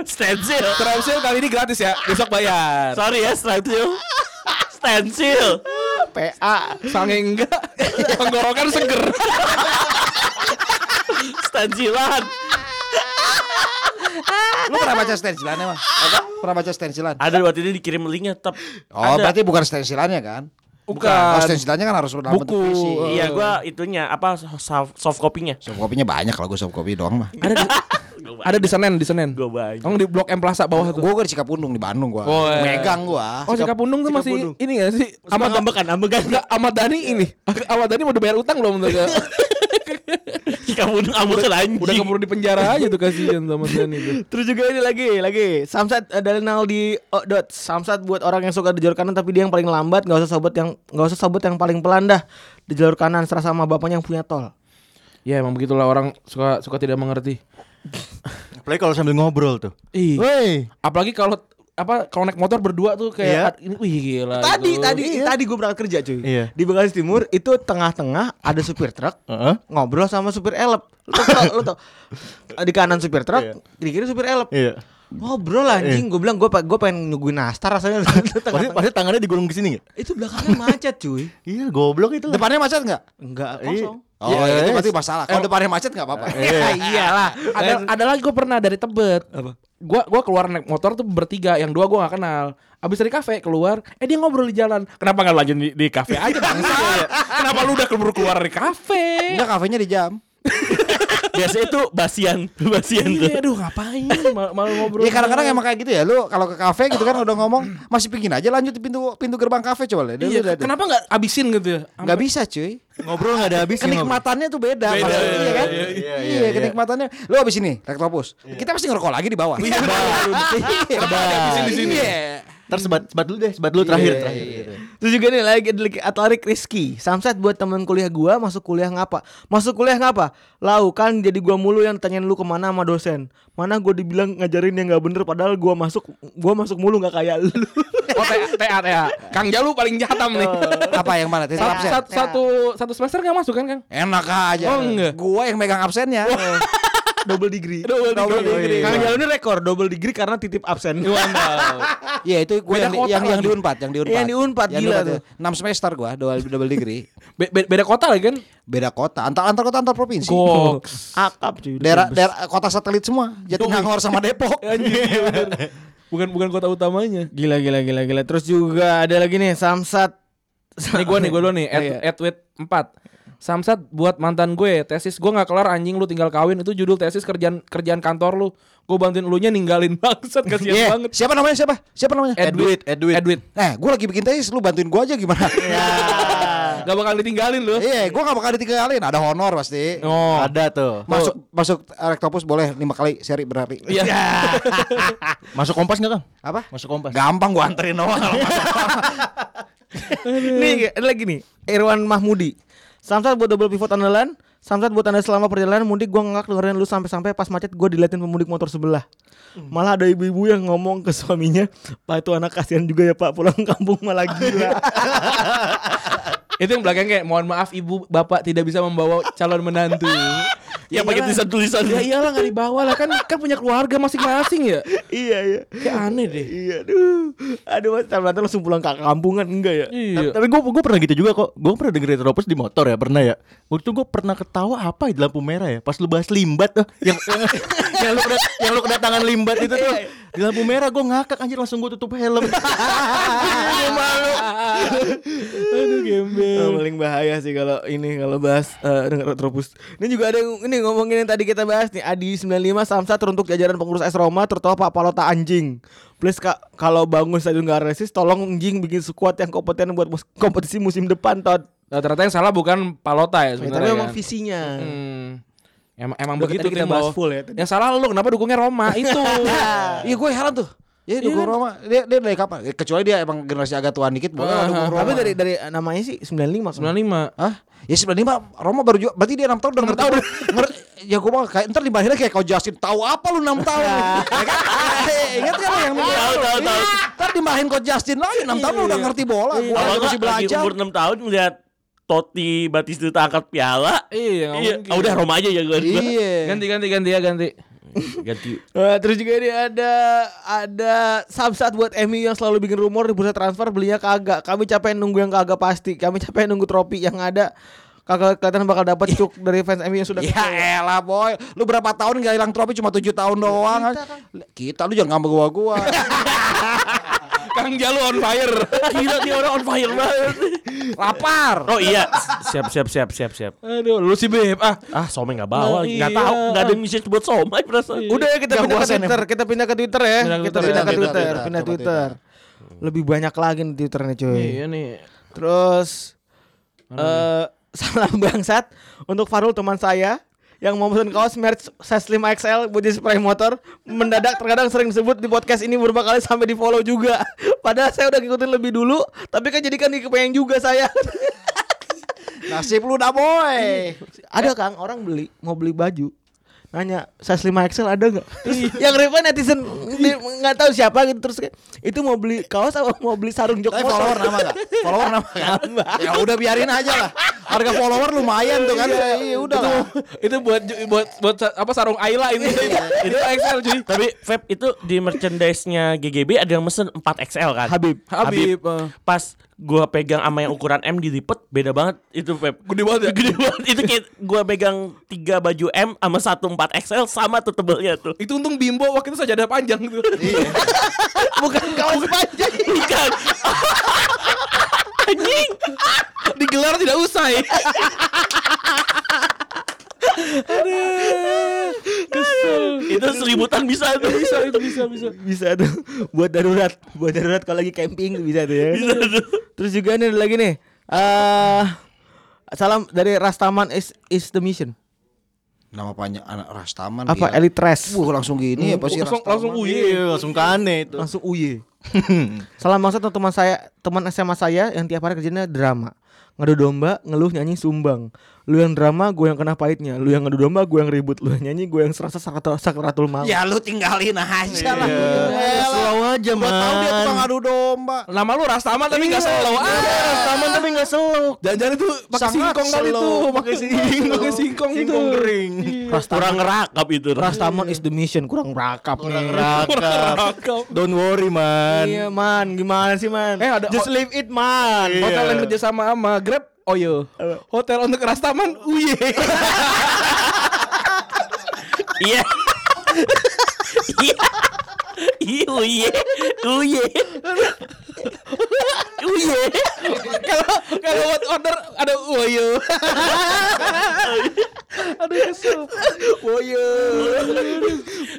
Stensil. Strepsil kali ini gratis ya, besok bayar. Sorry ya, strepsil. Stensil. PA. Sange enggak, tenggorokan seger. Stensilan. Lu pernah baca stensilan emang? Apa? Pernah baca stensilan? Ada waktu itu dikirim linknya tetap. Oh, berarti bukan stensilannya kan? Oh, stensilannya kan harus dalam bentuk Buku. puisi. Iya, gua itunya apa soft, soft copy-nya. Soft kopinya banyak kalau gue soft kopi doang mah. Ada di, ada di Senen, di Senen. Gua banyak. Emang di Blok M Plaza bawah tuh. Gue gue di Cikapundung di Bandung gue. Oh, iya. Megang gue. Oh, Sikap Pundung tuh masih ini ya sih? Amat Ahmad ambekan, ambekan. <laughs> Enggak, Ahmad Dhani ini. Ahmad Dhani mau udah bayar utang belum tuh? Kak? Kamu udah ambekan anjing. Udah keburu di penjara aja tuh kasihan sama Ahmad Dhani tuh. Terus juga ini lagi, lagi. Samsat eh, dari Naldi oh, dot. Samsat buat orang yang suka di jalur kanan tapi dia yang paling lambat, nggak usah sobat yang nggak usah sobat yang paling pelan dah di jalur kanan serasa sama bapaknya yang punya tol. Ya emang begitulah orang suka suka tidak mengerti. play kalau sambil ngobrol tuh. Ih. Woi, Apalagi kalau apa kalau naik motor berdua tuh kayak Iya. ad- ini wih gila. gitu. Tadi Nah, itu. tadi tadi gue berangkat kerja cuy. Iya. Di Bekasi Timur itu tengah-tengah ada supir truk Heeh. ngobrol sama supir elep. Lu tau, lu tau. Eh, Di kanan supir truk, Iya. di kiri supir elep. Iya. Ngobrol anjing, gue bilang gue gue pengen nungguin nastar <laughs> rasanya. Pasti, Tengah-tengah. pasti tangannya digulung ke sini enggak? itu belakangnya macet cuy. Iya, goblok itu. lah. Depannya macet nggak? Enggak Iya. kosong. Oh, Iya, iya. itu berarti masalah. Kalau depannya macet nggak apa-apa. Iya. Ya iyalah. ada ada lagi gue pernah dari Tebet. Gua gua keluar naik motor tuh bertiga, yang dua gua gak kenal. Abis dari kafe keluar, eh dia ngobrol di jalan. Kenapa gak lanjut di, di kafe aja bang? Kenapa lu udah keburu keluar dari kafe? Enggak Iya, kafenya di jam. Biasanya itu basian, <laughs> basian tuh. Iya, aduh ngapain? Mal, malu ngobrol. Iya kadang-kadang emang kayak gitu ya. Lu kalau ke kafe gitu kan udah ngomong masih pingin aja lanjut di pintu pintu gerbang kafe coba lihat. Iya, kenapa gak abisin gitu ya? Gak bisa cuy Ngobrol enggak ada habisnya. ngobrol. Kenikmatannya tuh beda, kalau iya kan? Iya, kenikmatannya. Lu abis ini, Rektopus. Kita pasti ngerokok lagi di bawah. Di bawah. Iya. Kenapa nggak abisin di sini? Iya. Ntar sebat sebat dulu deh, sebat dulu Iya, terakhir terakhir. Terus juga nih lagi lagi Atlarik Rizky Samsat buat teman kuliah gua masuk kuliah ngapa Masuk kuliah ngapa Lau kan jadi gua mulu yang tanyain lu kemana sama dosen Mana gua dibilang ngajarin yang gak bener Padahal gua masuk gua masuk mulu gak kayak lu Oh TA TA TA. Kang Jalu paling jatam nih. Apa yang mana? Tes Sat- absen. sat- satu satu semester nggak masuk kan Kang? Enak aja. Oh, enggak. Gua yang megang absennya. Double degree Double degree. Kang Jalu ini rekor double degree karena titip absen Iya itu gue Beda yang, di, kota yang, yang lagi. di Unpad, yang di Unpad. Yang di Unpad, gila tuh. 6 semester gua double, double degree. Be- be- beda kota <laughs> lagi kan? Beda kota, antar antar kota antar provinsi. Kok. Akap cuy Daerah daerah kota satelit semua. Jatinangor sama <laughs> Depok. Iya, Bukan bukan kota utamanya. Gila gila gila gila <laughs> Terus juga ada lagi nih Samsat Nih gua nih, gua dulu nih, Iya. at, atwit 4. Samsat buat mantan gue, tesis gue nggak kelar anjing lu tinggal kawin itu judul tesis kerjaan kerjaan kantor lu. Gue bantuin elunya ninggalin <laughs> bangsat kasihan Iya. banget. Siapa namanya siapa? Siapa namanya? Edwit, Edwit. Edwit. Nah, gue lagi bikin tesis, lu bantuin gue aja <laughs> gimana? Iya. Gak bakal ditinggalin lu. Iya, gue gak bakal ditinggalin, ada honor pasti. Oh. Eh, Ada tuh. <laughs> Masuk masuk rektopus boleh lima kali seri berarti. Iya. Masuk kompas nggak kang? Apa? Masuk kompas. Gampang gue anterin doang. kalau <laughs> masalah. Nih ada lagi nih Irwan Mahmudi Samsat buat double pivot andalan Samsat buat anda selama perjalanan mudik Gue ngakak dengerin lu sampai-sampai pas macet Gue diliatin pemudik motor sebelah Malah ada ibu-ibu yang ngomong ke suaminya Pak itu anak kasihan juga ya pak Pulang kampung malah gila itu yang belakang kayak mohon maaf ibu bapak tidak bisa membawa calon <laughs> menantu. Ya, pakai iyalah. Iya. tulisan-tulisan. Ya iyalah nggak dibawa lah kan kan punya keluarga masing-masing ya. Iya iya Kayak aneh deh. Iya aduh Aduh mas Samsat langsung pulang ke kampungan Enggak ya Iya. Tapi gue gue pernah gitu juga kok. Gue pernah dengerin teropos di motor ya, pernah ya. Waktu itu gue pernah ketawa apa di lampu merah ya. Pas lu bahas limbat tuh, yang <laughs> yang, yang lu kedat- yang lu kedatangan limbat itu tuh di lampu merah gue ngakak anjir langsung gue tutup helm. Aduh gembel. Oh, paling bahaya sih kalau ini kalau bahas eh, dengan retropus. Ini juga ada yang- ini ngomongin yang tadi kita bahas nih Adi 95 Samsat untuk jajaran pengurus S Roma terutama Pak Palota anjing. Please Kak, kalau bangun stadion nggak resist tolong anjing bikin squad yang kompeten buat mus- kompetisi musim depan Tot. Nah, ternyata yang salah bukan Palota Ya, ya sebenarnya. tapi emang kan. visinya. <laughs> Hmm. Emang emang Udah, begitu tadi kita bahas Trimbo. full ya tadi. Yang salah lu kenapa dukungnya Roma <laughs> itu. Iya, gue heran tuh. Ya dukung Iya. Roma, dia, dia dari kapan? Eh, Kecuali dia emang generasi agak tuaan dikit, boleh lah dukung Roma. Tapi dari dari namanya sih 95 kan? 95. Hah? Ya 95 Roma baru juga berarti dia 6 tahun udah ngerti. Tahu. Ngerti. Ya gua mah kayak ntar di akhirnya kayak kau Justin tahu apa lu 6 tahun. ya kan? Eh, Ingat kan lu yang tahu tahu tahu. Iya. Ntar dimarahin kau Justin lagi 6 tahun lu udah ngerti bola. Gua Kalau aja nggak masih lagi belajar. umur 6 tahun melihat Totti Batistuta angkat piala. Iya, nggak Iya. mungkin. Ah, udah Roma aja ya gue. Iya. Ganti ganti ganti ya ganti. Ganti. Eh, terus juga ini ada ada samsat buat MU yang selalu bikin rumor di bursa transfer belinya kagak. Kami capek nunggu yang kagak pasti. Kami capek nunggu trofi yang ada kagak kelihatan bakal dapat cuk dari fans MU yang sudah Ya elah boy, lu berapa tahun gak hilang trofi cuma 7 tahun doang. Kita, lu jangan ngambek gua <laughs> gua. Kang Jalu on fire. Gila nih orang on fire banget. Lapar. Oh iya. Siap siap siap siap siap. Aduh, lu sih Beb. Ah, Ah, Somai nggak bawa. Nah, Nggak iya. tahu. Nggak ada message buat Somai perasaan. Udah ya, kita Nggak pindah ke puasan Twitter, kita pindah ke Twitter ya. Pindah ke Kita Twitter, pindah ke pindah, Twitter, pindah, pindah coba Twitter. Lebih banyak lagi nih Twitter nih cuy. iya nih. Terus eh <laughs> salam bangsat untuk Farul teman saya yang mau pesan kaos merch Seslim XL buat di spray motor mendadak terkadang sering disebut di podcast ini beberapa kali sampai di follow juga <laughs> padahal saya udah ngikutin lebih dulu tapi kan jadi kan kepengen juga saya <laughs> Nasib lu dah boy. ada kang orang beli mau beli baju nanya size 5 XL ada nggak terus yang repot netizen di- nggak tahu siapa gitu terus kayak, itu mau beli kaos apa mau beli sarung jok Tapi motor?" follower nama gak? Follower nama kan? Ya udah biarin aja lah. Harga follower lumayan tuh kan. Iya udah lah. Itu buat ju- buat buat sa- apa sarung Ayla ini. itu XL cuy. Tapi Feb itu di merchandise-nya GGB ada yang mesen 4XL kan? Habib. Habib. eh. Pas gua pegang sama yang ukuran M dilipet beda banget itu Feb. Gede banget ya. Gede banget. Itu kayak gua pegang tiga baju M sama satu 4XL sama tuh tebelnya tuh. <laughs> Itu untung Bimbo waktu itu sajadah panjang gitu. tuh. <laughs> bukan kaos panjang Iya. Bukan. Anjing. Digelar tidak ya. usai. Aduh. Kesel. itu seributan bisa tuh. Bisa itu bisa bisa. bisa tuh <laughs> buat darurat buat darurat kalau lagi camping bisa tuh ya terus juga ini ada lagi nih eh salam dari Rastaman is, is the mission Nama panjang anak Rastaman. apa dia. Elite Trash Iya. Wuh langsung gini ya pasti Langsung Rastaman. langsung uye. Iya, langsung ke aneh itu. <laughs> langsung uye Salah maksud atau teman saya, teman SMA saya yang tiap hari kerjanya drama. Ngadu domba, ngeluh nyanyi sumbang. Lu yang drama, gue yang kena pahitnya. Lu yang ngadu domba, gue yang ribut. Lu yang nyanyi, gue yang serasa sakrat- sakratul maut. Ya lu tinggalin aja lah. Slow aja Gua tahu dia man. tukang adu domba. <laughs> Nama lu Rastaman tapi nggak selalu ah. Taman tapi gak slow. Jangan-jangan itu pakai Sangat singkong kali slow. itu, pakai <laughs> singkong, pakai singkong itu. Singkong kering. Kurang ngerakap itu. Gitu Rastaman is the mission, kurang rakap Kurang nih. rakap. Don't worry man. Iya man, gimana sih man? Eh, ada- Just leave it man. Hotel yang kerja sama sama Grab, oyo. Hotel untuk Rastaman, Oh, uye. Iya. Iya. Iya, uye, uye, uye. Kalau <laughs> kalau buat order ada oh, iya. oyo. Aduh kesel. Oyo.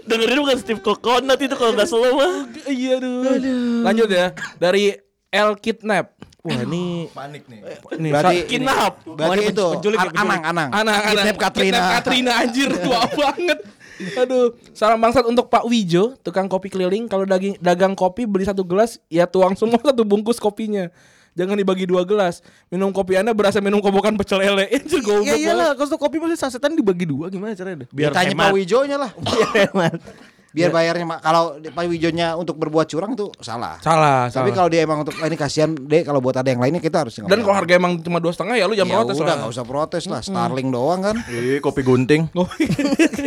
Dengerin bukan Steve Coconut itu kalau nggak slow mah. Iya aduh. Lanjut ya dari L Kidnap. Wah ini Panik nih. ini Berarti sa- ini- Kinap. Berarti itu an- anang anang. Anak-anak Kidnap Katrina. Kidnap Katrina anjir tua banget. Aduh, salam bangsat untuk Pak Wijo, tukang kopi keliling. Kalau daging dagang kopi beli satu gelas, ya tuang semua satu bungkus kopinya. Jangan dibagi dua gelas. Minum kopi Anda berasa minum kobokan pecel lele. <laughs> Anjir goblok. Iya banget. iyalah, kalau tuh kopi pasti sasetan dibagi dua gimana caranya? dah? Biar Tanya hemat. Pak Wijonya lah. Iya. <laughs> Biar bayarnya Ma. kalau Pak Wijonya untuk berbuat curang itu salah. Salah, Tapi salah. kalau dia emang untuk "Ah, ini kasihan deh kalau buat ada yang lainnya kita harus Dan kalau harga emang cuma dua setengah ya lu ya jangan protes udah lah. nggak usah protes lah, Starling doang kan. Ih, kopi gunting.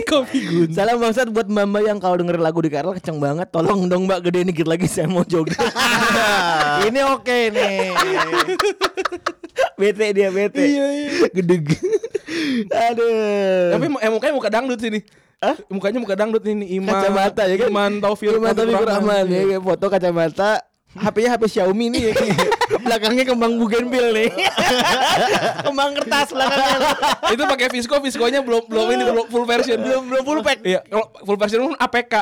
kopi gun. Salam bangsat buat Mbak Mbak yang kalau dengerin lagu di KRL kenceng banget. Tolong dong Mbak gedein dikit lagi <laughs> saya mau joget. <laughs> ini oke <laughs> nih. bete dia bete. Iya Gede. <laughs> Aduh. Tapi em- em- mukanya muka dangdut sini. Hah? Mukanya muka dangdut ini Iman. kacamata ya kan. Iman Taufil. Iman Taufil Rahman ya Iya. kayak foto kacamata. HP-nya HP Xiaomi nih ya. <laughs> belakangnya kembang bugenvil nih. <laughs> kembang kertas belakangnya. itu pakai Visco, Visconya belum belum ini belum full version. Belum belum full pack. Iya, kalau full version pun APK.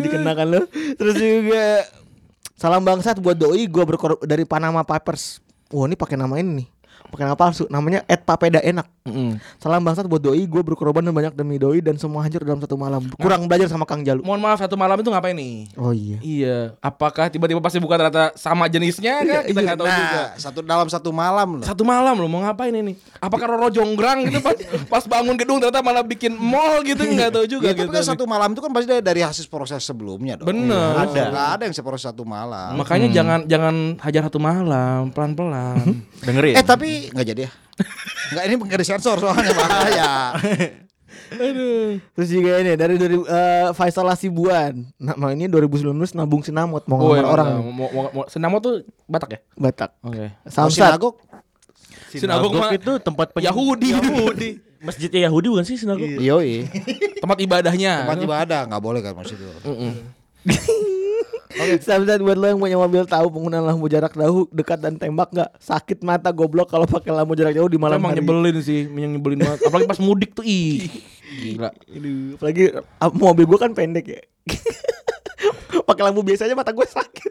Jadi kenakan lo. Terus juga salam bangsat buat doi gua berkor dari Panama Papers. Wah, ini pakai nama ini nih. Pakai nama palsu. Namanya Ed Papeda Enak. Salam bangsat buat doi gua berkorban dan banyak demi doi dan semua hancur dalam satu malam. Kurang belajar sama Kang Jalu. Mohon maaf satu malam itu ngapain nih? Oh iya. Nah. Iya, apakah tiba-tiba pasti buka ternyata sama jenisnya kah? Kita nggak tahu juga. Nah, satu dalam satu malam loh. Satu malam lo mau ngapain ini? Apakah Roro Jonggrang gitu pas, pas bangun gedung ternyata malah bikin mall gitu nggak tahu juga gitu. Ya, tapi kan satu malam itu kan pasti dari, dari hasil proses sebelumnya dong. Bener. Ada. Gak ada yang seproses satu malam. Makanya jangan jangan hajar satu malam, pelan-pelan. Dengerin. Eh tapi nggak <laughs> jadi ya. Enggak ini nggak disensor soalnya Iya. bahaya. Terus juga ini dari dari eh, Faisal Lasibuan. Nama ini 2019 nabung sinamot mau Oh, ngelamar orang nih. Mau, mau, mau, Senamo tuh Batak ya? Batak. Oke. Mau Samsat. sinagog? Sinagog mah- itu tempat peny- Yahudi. Yahudi. Masjidnya Yahudi bukan sih sinagog? Iya. Yoi. Tempat ibadahnya. Tempat ibadah nggak boleh kan maksud itu. Samsat buat lo yang punya mobil tahu penggunaan lampu jarak jauh dekat dan tembak nggak sakit mata goblok kalau pakai lampu jarak jauh di malam emang hari. nyebelin sih, yang nyebelin banget. Apalagi pas mudik tuh ih. Gila. Aduh, apalagi ah, mobil gue kan pendek ya. <laughs> pakai lampu biasanya mata gue <laughs> sakit.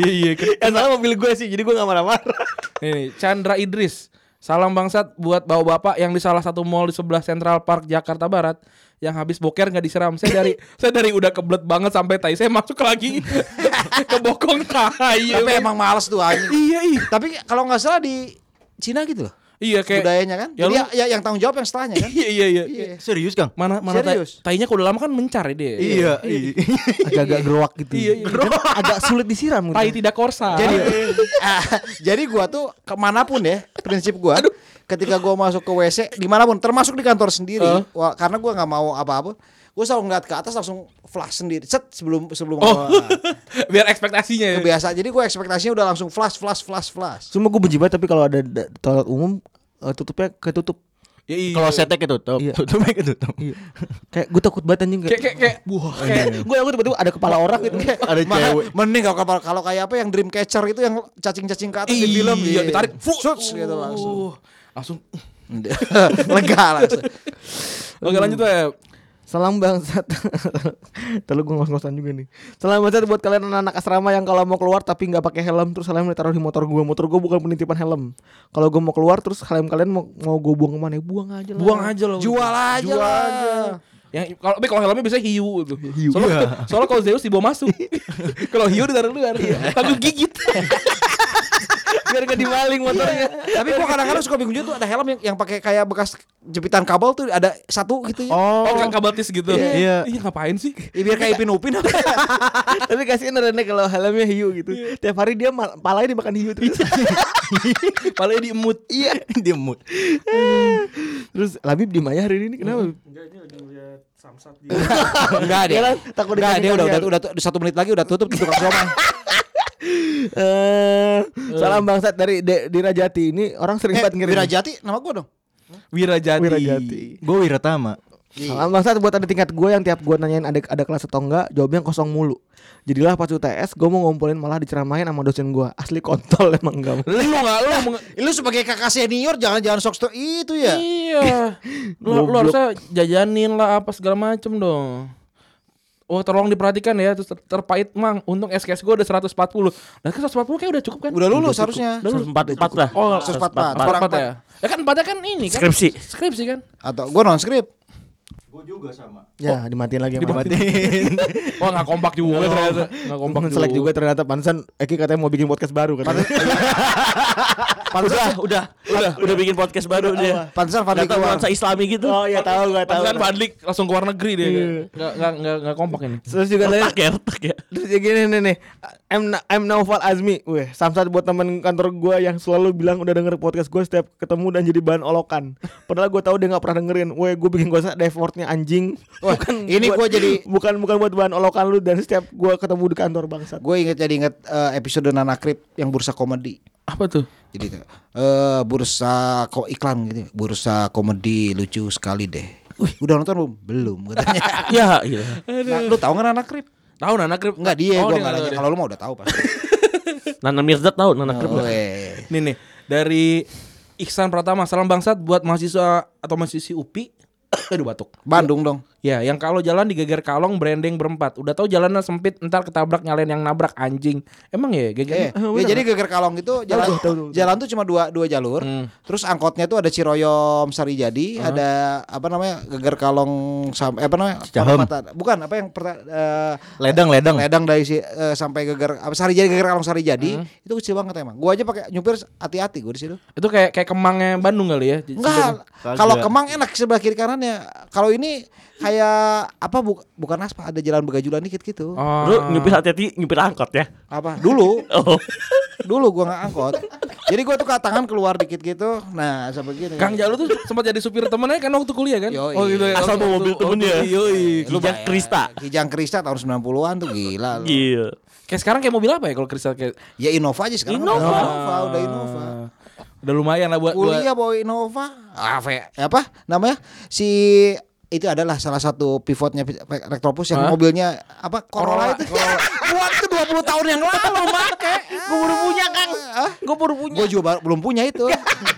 iya iya. Ken- Yang salah mobil gue sih, jadi gue gak marah-marah. Nih, Chandra Idris. Salam bangsat buat bawa bapak yang di salah satu mall di sebelah Central Park Jakarta Barat yang habis boker nggak disiram. Saya dari saya dari udah kebelet banget sampai tai saya masuk lagi ke bokong tai. Tapi emang males tuh anjing. iya iya. Tapi kalau nggak salah di Cina gitu loh. Iya kayak <laughs> budayanya kan. Ya Jadi lu- ya- ya, yang tanggung jawab yang setelahnya kan. Iya iya iya. Serius Kang? Mana mana tai, Serius? tainya kalau udah lama kan mencar ya dia. Iya. iya. Agak-agak geruak gitu. Iya, iya. Dan <laughs> Agak sulit disiram gitu. Tai tidak korsa. Jadi <laughs> ah, jadi gua tuh kemanapun ya prinsip gua. Ketika gua masuk ke WC dimanapun termasuk di kantor sendiri wah, karena gua nggak mau apa-apa. Gua selalu ngeliat ke atas langsung flash sendiri. Set sebelum sebelum Oh. gua- <laughs> Biar ekspektasinya ya. kebiasaan. Jadi gua ekspektasinya udah langsung flash flash flash flash. Cuma gue benci banget tapi kalau ada da- toilet umum eh, tutupnya ketutup. Ya, iya. Kalau setek ketutup, Iya. tutupnya ketutup. Kayak gue takut banget anjing kayak kayak kayak kayak gue aku tiba-tiba ada kepala orang gitu. Ada Makanya cewek. Mending kalau kalau- kalau kayak apa yang Dreamcatcher itu yang cacing-cacing ke atas di Iya, film gitu. ditarik. Fuh. Suits, gitu langsung. Uh, langsung. <laughs> Lega langsung. Oke lanjut ya. Web. Salam bangsat. <laughs> Terlalu gue ngos-ngosan juga nih. Salam bangsat buat kalian anak-anak asrama yang kalau mau keluar tapi nggak pakai helm terus helm ditaruh di motor gue. Motor gue bukan penitipan helm. Kalau gue mau keluar terus helm kalian mau, mau gue buang kemana? Ya, Buang aja lah. Buang aja loh. Jual aja lah. Yang kalau tapi kalau helmnya biasanya hiu itu. Soalnya, soalnya kalau Zeus dibawa masuk. kalau hiu ditaruh luar. Takut gigit. Iya. Biar gak dimaling motornya. Tapi gua kadang-kadang suka bingung juga tuh ada helm yang yang pakai kayak bekas jepitan kabel tuh ada satu gitu ya. Oh, Oh, kayak kabatis gitu. Iya. Iya, ngapain sih? Ya, biar kayak Ipin Upin apa. Tapi kasihan Rene kalau helmnya hiu gitu. Iya. Tiap hari dia mal- palanya dimakan hiu terus. <laughs> Palanya diemut. Iya. dia mood. Terus Labib di Maya hari ini kenapa? Enggak dia. Iya lah, takut Enggak dikasih dia udah udah kasihan. udah udah satu menit lagi udah tutup di tukang somai. Eh, salam bangsat dari De- Dirajati ini orang sering Eh, banget ngirim. Wirajati nama gua dong. Wirajati. Wirajati. Gue Wiratama. Salam bangsat buat ada tingkat gue yang tiap gue nanyain ada ada kelas atau enggak, jawabnya kosong mulu. Jadilah pas UTS gue mau ngumpulin malah diceramain sama dosen gue. Asli kontol <laughs> emang enggak. Lu enggak lu meng- Eh, Lu sebagai kakak senior jangan-jangan sok stok itu ya. Iya. lu, lu Goblok. harusnya jajanin lah apa segala macem dong. Oh tolong diperhatikan ya terus ter- terpahit mang untung SKS gue udah 140 Nah kan 140 kayak udah cukup kan Udah lulus harusnya. empat empat lah. Oh, 144. Empat, Kurang empat empat. ya Ya kan empatnya kan ini kan Skripsi. Skripsi kan Atau gua non script. Gue juga sama. Ya, dimatiin lagi sama Abang. Matiin. Wah gak kompak juga ternyata Gak kompak Bang selek juga ternyata pantesan Eki katanya mau bikin podcast baru katanya. Udah, udah, udah, udah bikin podcast baru dia. Pantesan Fadli Ternyata keluar. nuansa islami gitu. Oh iya tahu gue tahu. Pantesan Fadli langsung ke luar negeri dia kan? Gak, gak, gak, gak kompak ini Terus juga tanya- Retak ya, retak ya. Terus ya gini nih nih I'm, Na- I'm Naufal Azmi Weh Samsat buat temen kantor gua yang selalu bilang udah denger podcast gua setiap ketemu dan jadi bahan olokan Padahal gua tahu dia gak pernah dengerin Weh gua bikin gua dashboardnya anjing <laughs> Wah, ini buat- gua jadi- Bukan bukan buat bahan olokan lu dan setiap gua ketemu di kantor bangsat Gue inget jadi inget eh, episode Nana Krip yang bursa komedi. Apa tuh? Jadi kayak, eh bursa kok iklan gitu, ya. bursa komedi lucu sekali deh. Wih, udah nonton belum? Belum katanya. <laughs> Ya, iya. nah, lu tahu nggak Nana Krip? Tahu Nana Krip Enggak dia, Oh, gua dia nggak nggak nanya. tahu Kalau lu mau udah tahu pasti. Nana Mirdad tahu Nana ya? Krip. Oh, iya. nggak? eh. Nih nih dari Iksan Pratama salam bangsat buat mahasiswa atau mahasiswi UPI. <coughs> Aduh batuk. Bandung dong. Ya, yang kalau jalan digeger kalong branding berempat. Udah tahu jalannya sempit, ntar ketabrak nyalain yang nabrak anjing. Emang ya Iya, Eh, geger. ya jadi geger kalong itu jalan jalan tuh cuma dua dua jalur. Hmm. Terus angkotnya tuh ada Ciroyom Sarijadi, ada apa namanya? Geger kalong sampai apa namanya? Cicahem. perempatan. Bukan apa yang perta, eh, ledang, ledang. Ledang dari si, eh, sampai geger apa Sarijadi geger kalong Sarijadi Hmm. itu kecil banget emang. Gua aja pakai nyupir hati-hati gua di situ. Itu kayak kayak kemangnya Bandung kali ya. Enggak. Kagak. Kalau Kemang enak sebelah kiri kanannya. Kalau ini kayak apa bu- bukan aspal ada jalan begajulan dikit gitu. Oh. Lu nyupir hati-hati, nyupir angkot ya. Apa? Dulu, <laughs> Oh. dulu gua nggak angkot. Jadi gua tuh ke tangan keluar dikit gitu. Nah, sampai gitu. Kang Jalu tuh sempat jadi supir temennya kan waktu kuliah kan? Yoi. ya. Waktu- Asal mau mobil waktu- temennya. waktu- Yoi. Kijang Krista. Kijang Krista tahun 90-an tuh gila lu. Iya. Kayak sekarang kayak mobil apa ya kalau kristal kayak Ya Innova aja sekarang. Innova. Udah Innova, udah Innova. Ah, Udah lumayan lah buat buat- Ah, Kuliah bawa Innova. Apa, ya- apa namanya? Si itu adalah salah satu pivotnya Rektropus Hah? yang mobilnya apa Corolla, Corolla, itu. <laughs> Buat ke 20 tahun yang lalu make. Gue baru punya, Kang. Gue baru punya Gue juga baru- belum punya itu.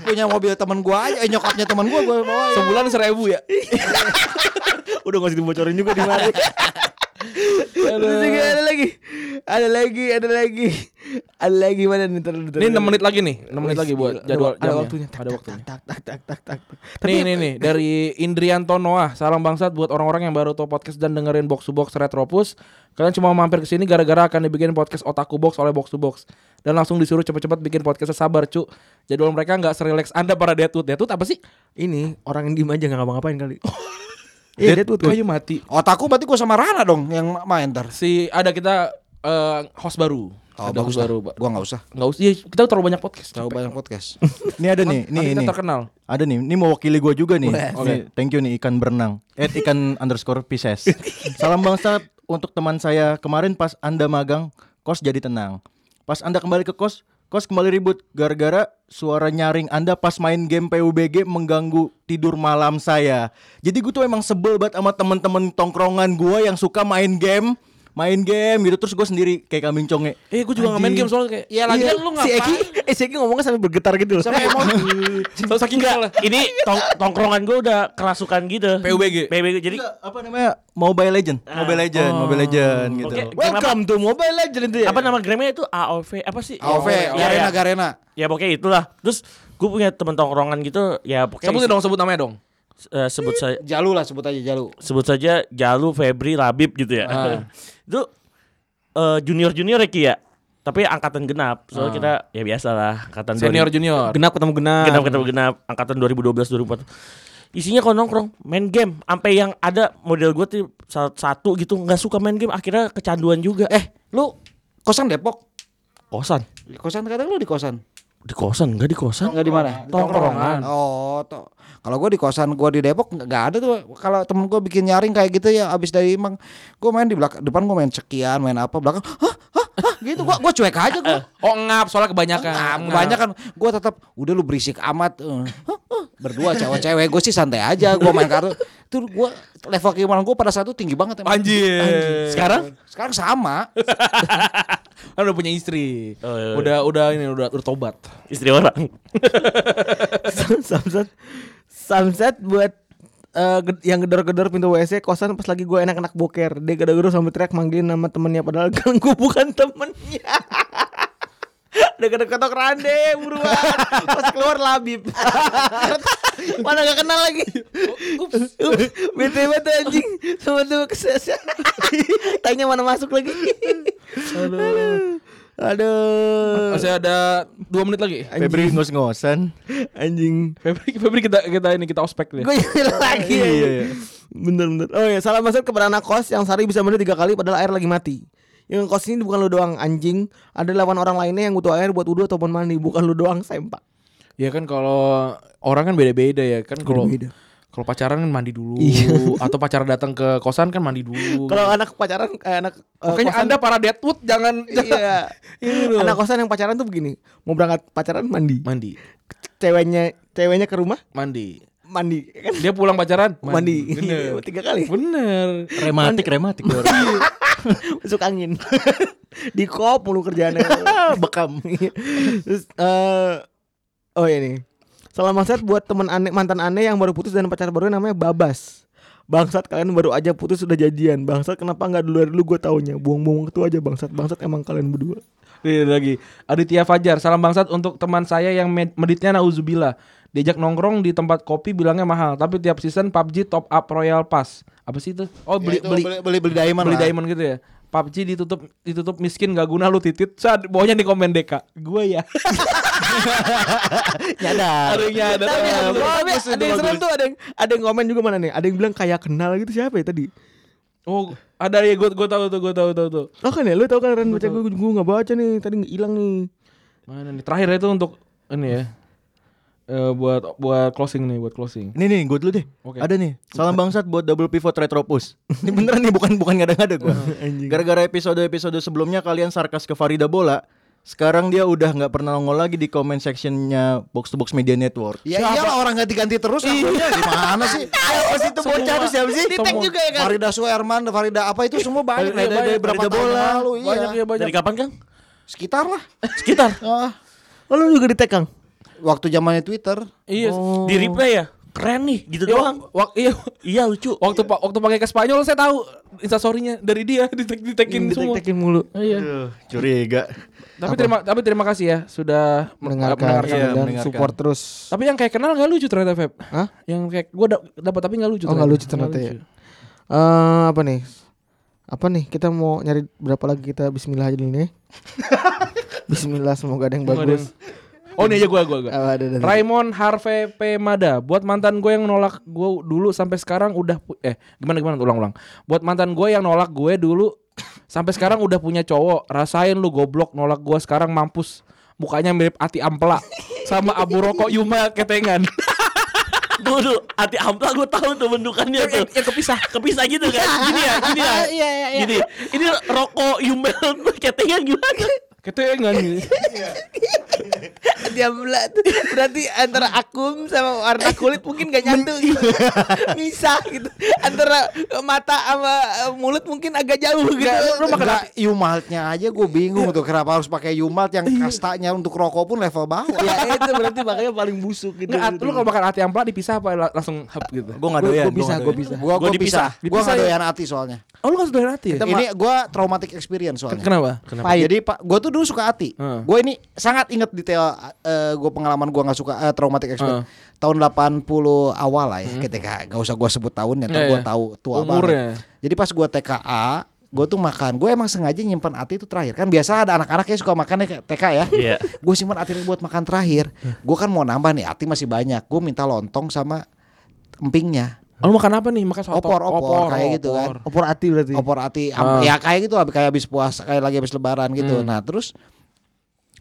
punya mobil temen gue aja, eh, nyokapnya temen gue gue bawa. sebulan seribu ya. Udah gak usah dibocorin juga di mari Terus juga ada lagi Ada lagi Ada lagi Ada lagi mana nih Ntar, ntar, Ini ntar. 6 menit lagi nih, 6 menit Wih, lagi buat gila. jadwal Ada jamnya. waktunya Tak, Ada tak, waktunya. tak, tak, tak, tak, tak, tak. nih nih <laughs> nih dari Indrianto Noah. Salam bangsat buat orang-orang yang baru tahu podcast dan dengerin Box to Box Retropus. Kalian cuma mampir ke sini gara-gara akan dibikin podcast Otaku Box oleh Box to Box dan langsung disuruh cepet-cepet bikin podcast sabar cu. Jadwal mereka nggak serileks Anda para Deadwood. Deadwood apa sih? Ini orang yang diem aja gak ngapa-ngapain <laughs> kali Iya dia tuh tuh. Kayu mati. Otakku berarti gue sama Rana dong yang main ntar. Si ada kita eh, host baru. Oh, ada bagus host lah. baru. Pak. Gue nggak usah. Nggak usah. Iya, kita terlalu banyak podcast. Terlalu Capek. banyak <laughs> podcast. Ini ada nih, Nanti nih, kita nih. terkenal. Ada nih, ini mewakili gue juga nih. Oke. Nih, Thank you nih ikan berenang. Eh ikan <laughs> underscore Pisces. Salam bangsat untuk teman saya. Kemarin pas anda magang, kos jadi tenang. Pas anda kembali ke kos, kos kembali ribut gara-gara suara nyaring anda pas main game PUBG mengganggu tidur malam saya. Jadi gue tuh emang sebel banget sama temen-temen tongkrongan gue yang suka main game, main game gitu terus gue sendiri kayak kambing conge. Eh, gue juga nggak main game soalnya kayak. Iya lagi lu Si Eki Eh si Eki ngomongnya sampai bergetar gitu loh Sampai emosi. Tahu saking kesel. Ini tong- tongkrongan gue udah kerasukan gitu. PUBG. PUBG. Jadi Gitu. Enggak, apa namanya? Mobile Legend. Mobile Legend, Mobile Legend gitu. Oke. Welcome to Mobile Legends Iya, itu ya. apa nama gramnya itu AOV apa sih? AOV, Ya, Garena ya. Garena. ya pokoknya itulah. Terus gue punya temen tongkrongan gitu ya pokoknya Sebutin dong, sebut namanya dong. eh, sebut saya Jalu lah sebut aja Jalu. sebut saja Jalu, Febri, Labib gitu ya. <laughs> itu junior junior ya Ki ya. Tapi angkatan genap. Soalnya kita ya biasa lah angkatan Senior 2000 junior. Genap ketemu genap. genap ketemu genap angkatan 2012 2014. Isinya kok nongkrong main game sampai yang ada model gue tuh sa- satu gitu nggak suka main game akhirnya kecanduan juga. Eh, Lu kosan Depok? kosan. Di kosan kadang lu di kosan. Di kosan, enggak di kosan. Enggak di mana? Tongkrongan. Oh, to. kalau gue di kosan gue di Depok nggak ada tuh. Kalau temen gue bikin nyaring kayak gitu ya, abis dari emang gue main di belakang depan gue main cekian, main apa belakang, hah, hah, hah, gitu. Gue gue cuek aja gue. <laughs> Oh ngap soalnya kebanyakan. Ah, Ngap. banyak kan gue tetap udah lu berisik amat Eh, huh, huh. berdua cewek-cewek gue sih santai aja gue main kartu tuh gue level keimanan gue pada saat itu tinggi banget emang. Anjir. Sekarang sekarang sama Kan udah punya istri. Oh, iya, iya. Udah udah ini udah, udah tobat. istri orang. Samsat Samsat buat eh, ged- yang gedor-gedor pintu WC kosan pas lagi gue enak-enak boker dia gedor-gedor sambil teriak manggilin nama temennya padahal kan gue bukan temennya Deket-deket ketok rande buruan Pas keluar <laughs> labib Mana gak kenal lagi Ups Bete banget anjing Sama tuh <laughs> kesesat Tanya mana masuk lagi Aduh Aduh Masih ada dua menit lagi. Febri ngos-ngosan. Anjing Febri, Febri kita kita ini kita ospek deh. Gue nyari lagi Iya, iya. Bener bener Oh iya salah masuk kepada anak kos Yang sehari bisa mandi tiga kali Padahal air lagi mati Yang kos ini bukan lu doang anjing Ada 8 orang lainnya yang butuh air buat wudhu ataupun mandi Bukan lu doang sempak Ya kan kalau orang kan beda-beda ya kan kalau Beda-beda. kalau pacaran kan mandi dulu <laughs> atau pacar datang ke kosan kan mandi dulu. Kalau anak pacaran eh, anak eh, Makanya kosan- Anda para deadwood jangan Iya Anak kosan yang pacaran tuh begini Mau berangkat pacaran mandi <laughs> mandi. Ceweknya ceweknya ke rumah Mandi. mandi Ya kan Dia pulang pacaran mandi, Bener. <laughs> tiga kali Bener. Rematik, rematik. Dor. masuk angin <laughs> di kop mulu kerjaannya <laughs> bekam terus eh oh ini salam bangsat buat teman aneh mantan aneh yang baru putus dan pacar baru namanya Babas Bangsat kalian baru aja putus sudah jadian Bangsat kenapa nggak dulu dulu gue taunya Buang-buang waktu aja bangsat Bangsat emang kalian berdua Nih, ada Iya, lagi. Aditya Fajar, salam bangsat untuk teman saya yang med- meditnya nauzubillah. Diajak nongkrong di tempat kopi bilangnya mahal, tapi tiap season PUBG top up Royal Pass. Apa sih itu? Oh, beli beli beli, beli beli diamond lah. diamond gitu ya. PUBG ditutup ditutup miskin gak guna lu titit. Sad, bawahnya di komen Deka. Gua ya. Nyadar. Adanya ada. Tapi ada- tuh. tapi ada yang serem tuh ada yang ada yang komen juga mana nih ada yang bilang kayak kenal gitu siapa ya tadi Oh, ada ya gua gua tahu tuh, gua tahu tahu tuh. Oh kan ya lu tau kan Ren baca gue gue nggak baca nih tadi hilang nih Mana nih? Terakhir itu untuk ini ya. Eh, buat buat closing nih, buat closing. Ini nih, gue dulu deh. Oke. Ada nih. Salam bangsat buat double pivot retropus. Ini beneran nih, bukan bukan ngada-ngada gue. Gara-gara episode-episode sebelumnya kalian sarkas ke Farida Bola. Sekarang dia udah nggak pernah nongol lagi di comment sectionnya Box to Box Media Network. Ya iyalah orang ganti-ganti terus akunya gimana sih? Apa sih itu bocah tuh siapa sih? Di tag juga ya kan. Farida Suherman, Farida apa itu semua banyak Farida- dari Farida Iya, berapa tahun yang lalu Banyak iya. ya banyak. Dari kapan, Kang? Sekitar lah. Sekitar. Ah, Oh lu juga di tag Kang waktu zamannya Twitter. Iya. Di replay ya? Keren nih, gitu Iya, doang. wak- iya. Iya lucu. Waktu pa- waktu pakai ke Spanyol saya tahu instastorynya dari dia <laughs> ditekin semua. Ditek-tekin mulu Iya. Curiga. Tapi terima tapi terima kasih ya sudah men- mendengarkan, Iya, dan mendengarkan. support terus. Tapi yang kayak kenal gak lucu ternyata Feb. Hah? Yang kayak gue dapat tapi gak lucu. Oh nggak lucu ternyata ya. Eh apa nih? Apa nih? Kita mau nyari berapa lagi kita Bismillah aja dulu nih. <laughs> Bismillah semoga ada yang Nggak ada bagus. yang- Oh ini aja gue gue gue. Ah, ada, ada, ada. Raymond Harvey P Mada buat mantan gue yang nolak gue dulu sampai sekarang udah pu- eh gimana gimana ulang-ulang. Buat mantan gue yang nolak gue dulu <coughs> sampai sekarang udah punya cowok. Rasain lu goblok nolak gue sekarang mampus. Mukanya mirip Ati Ampela sama abu rokok Yuma ketengan. Tunggu dulu, hati ampla gue tahu tuh bentukannya tuh. yang kepisah. Kepisah gitu kan. Gini ya, gini ya. Iya, iya, iya. Gini. Ini rokok <laughs> Yumbel ketengan gimana? Ketengan gitu. Dia belat. Berarti antara akum sama warna kulit mungkin gak nyatu gitu. Misah gitu. Antara mata sama mulut mungkin agak jauh gitu. Lu makan Yumaltnya aja gue bingung tuh kenapa harus pakai Yumalt yang kastanya untuk rokok pun level bawah. ya itu berarti makanya paling busuk gitu. Nggak, lu kalau makan hati ampla dipisah apa la- langsung hap gitu? Gue nggak doyan. Gue bisa, nggak gue doyan. bisa. Gua Gua gua pisah. dipisah. Gua Dipisah enggak ya? doyan hati soalnya. Oh lu nggak sudah hati ya? Iya, Ini gua traumatic experience soalnya. Kenapa? Jadi Pak, gue tuh dulu suka hati. Heeh. Gue ini sangat inget detail eh, gua pengalaman gua nggak suka eh, traumatic experience tahun 80 awal lah ya ketika gak usah gua sebut tahunnya ntar Iya, gua iya. tahu tua Umurnya. banget. Jadi pas gua TKA, gua tuh makan. Gue emang sengaja nyimpan ati itu terakhir. Kan biasa ada anak-anak yang suka makan ya kayak TK ya. Iya. gue simpan ati buat makan terakhir. Gue kan mau nambah nih ati masih banyak. Gue minta lontong sama empingnya. Lu makan apa nih? Makan soto. Opor, opor, kayak gitu kan. opor. Opor ati berarti. Opor ati am- Ah. ya kayak gitu lah, kayak habis puasa, kayak lagi habis lebaran gitu. Hmm. Nah, terus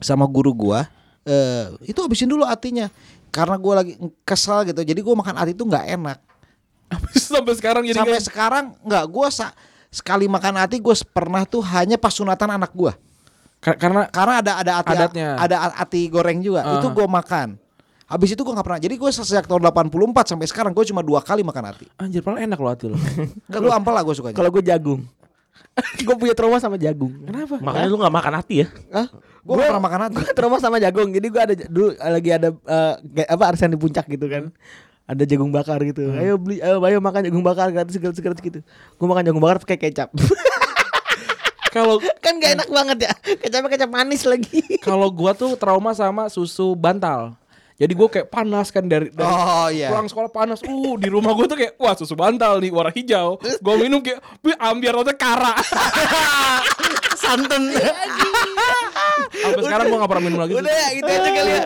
sama guru gua eh itu habisin dulu atinya karena gua lagi kesel gitu. Jadi gua makan ati itu nggak enak. Sampai sekarang jadi Sampai kayak- sekarang nggak gua sa- sekali makan ati gue pernah tuh hanya pas sunatan anak gua. Ka- karena Karena ada ada ati Adatnya. ada a- ati goreng juga. Ah. Itu gua makan. Habis itu gua nggak pernah. Jadi gua sejak tahun 84 sampai sekarang gua cuma dua kali makan ati. anjir paling enak lo hati lo. Enggak lu ampel lah gua sukanya. Kalau gue jagung. gue punya trauma sama jagung. Kenapa? Makanya lu nggak makan hati ya. Hah? Gua nggak pernah makan hati. Gua trauma sama jagung. Jadi gue ada dulu lagi ada eh, kayak apa arisan di puncak gitu kan. Ada jagung bakar gitu. Ayo beli ayo, ayo makan jagung bakar gratis gratis gratis gitu. Gue makan jagung bakar pakai kecap. <laughs> Kalau kan gak enak banget ya. Kecapnya kecap manis lagi. kalau gua tuh trauma sama susu bantal. Jadi gua kayak panas kan dari, dari Oh, iya. pulang sekolah panas. Uh di rumah gua tuh kayak wah susu bantal nih warna hijau. Gua minum kayak "Wih, ambiar rasa kara. Santan. Sampai sekarang gua gak pernah minum lagi. Udah ya gitu aja kali ya.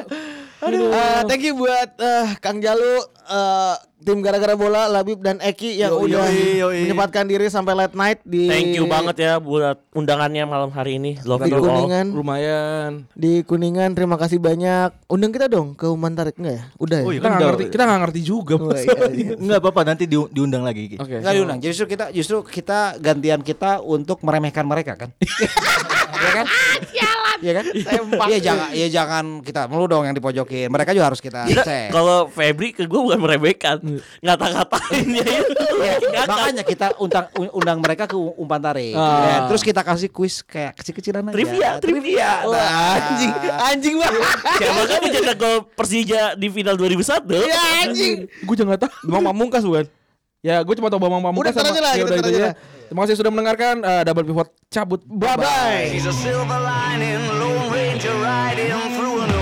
Eh, thank you buat eh, Kang Jalu, eh, tim gara-gara bola, Labib dan Eki yang Yoi, udah yoi, yoi. menyempatkan diri sampai late night di Thank Iya. you banget ya buat undangannya malam hari ini. Love di you all. Kuningan. Lumayan. Di Kuningan terima kasih banyak. Undang kita dong ke Uman Tarik enggak ya? Udah ya. Oh, iya. Kita gak Udah. ngerti, kita gak ngerti juga. Oh, Mas. iya, iya. Enggak Eh, apa-apa nanti diu- diundang lagi. Ki. Oke. Enggak diundang. Justru kita justru kita gantian kita untuk meremehkan mereka <laughs> kan. Iya kan? Sialan. Iya kan? Iya jangan ya jangan kita mulu dong yang dipojokin. Mereka juga harus kita Kita- ses. Iya, Kalau Febri ke gue bukan meremehkan, ngata-ngatain ya itu. <laughs> Iya, makanya kita undang undang mereka ke umpan tarik. Ya, terus kita kasih kuis kayak kecil-kecilan aja. Ah. Trivia, trivia. Nah, anjing, anjing banget. Siapa kan mencetak gol Persija di final 2001? Ya anjing. Gue juga gak tau Bang Pamungkas bukan? Ya gue cuma tau Bang Udah, Pamungkas ntar aja lah, ya kita ntar udah itu aja aja. lah. Terima kasih sudah mendengarkan eh, Double Pivot cabut Bye bye He's a silver lining, Lone Ranger riding through an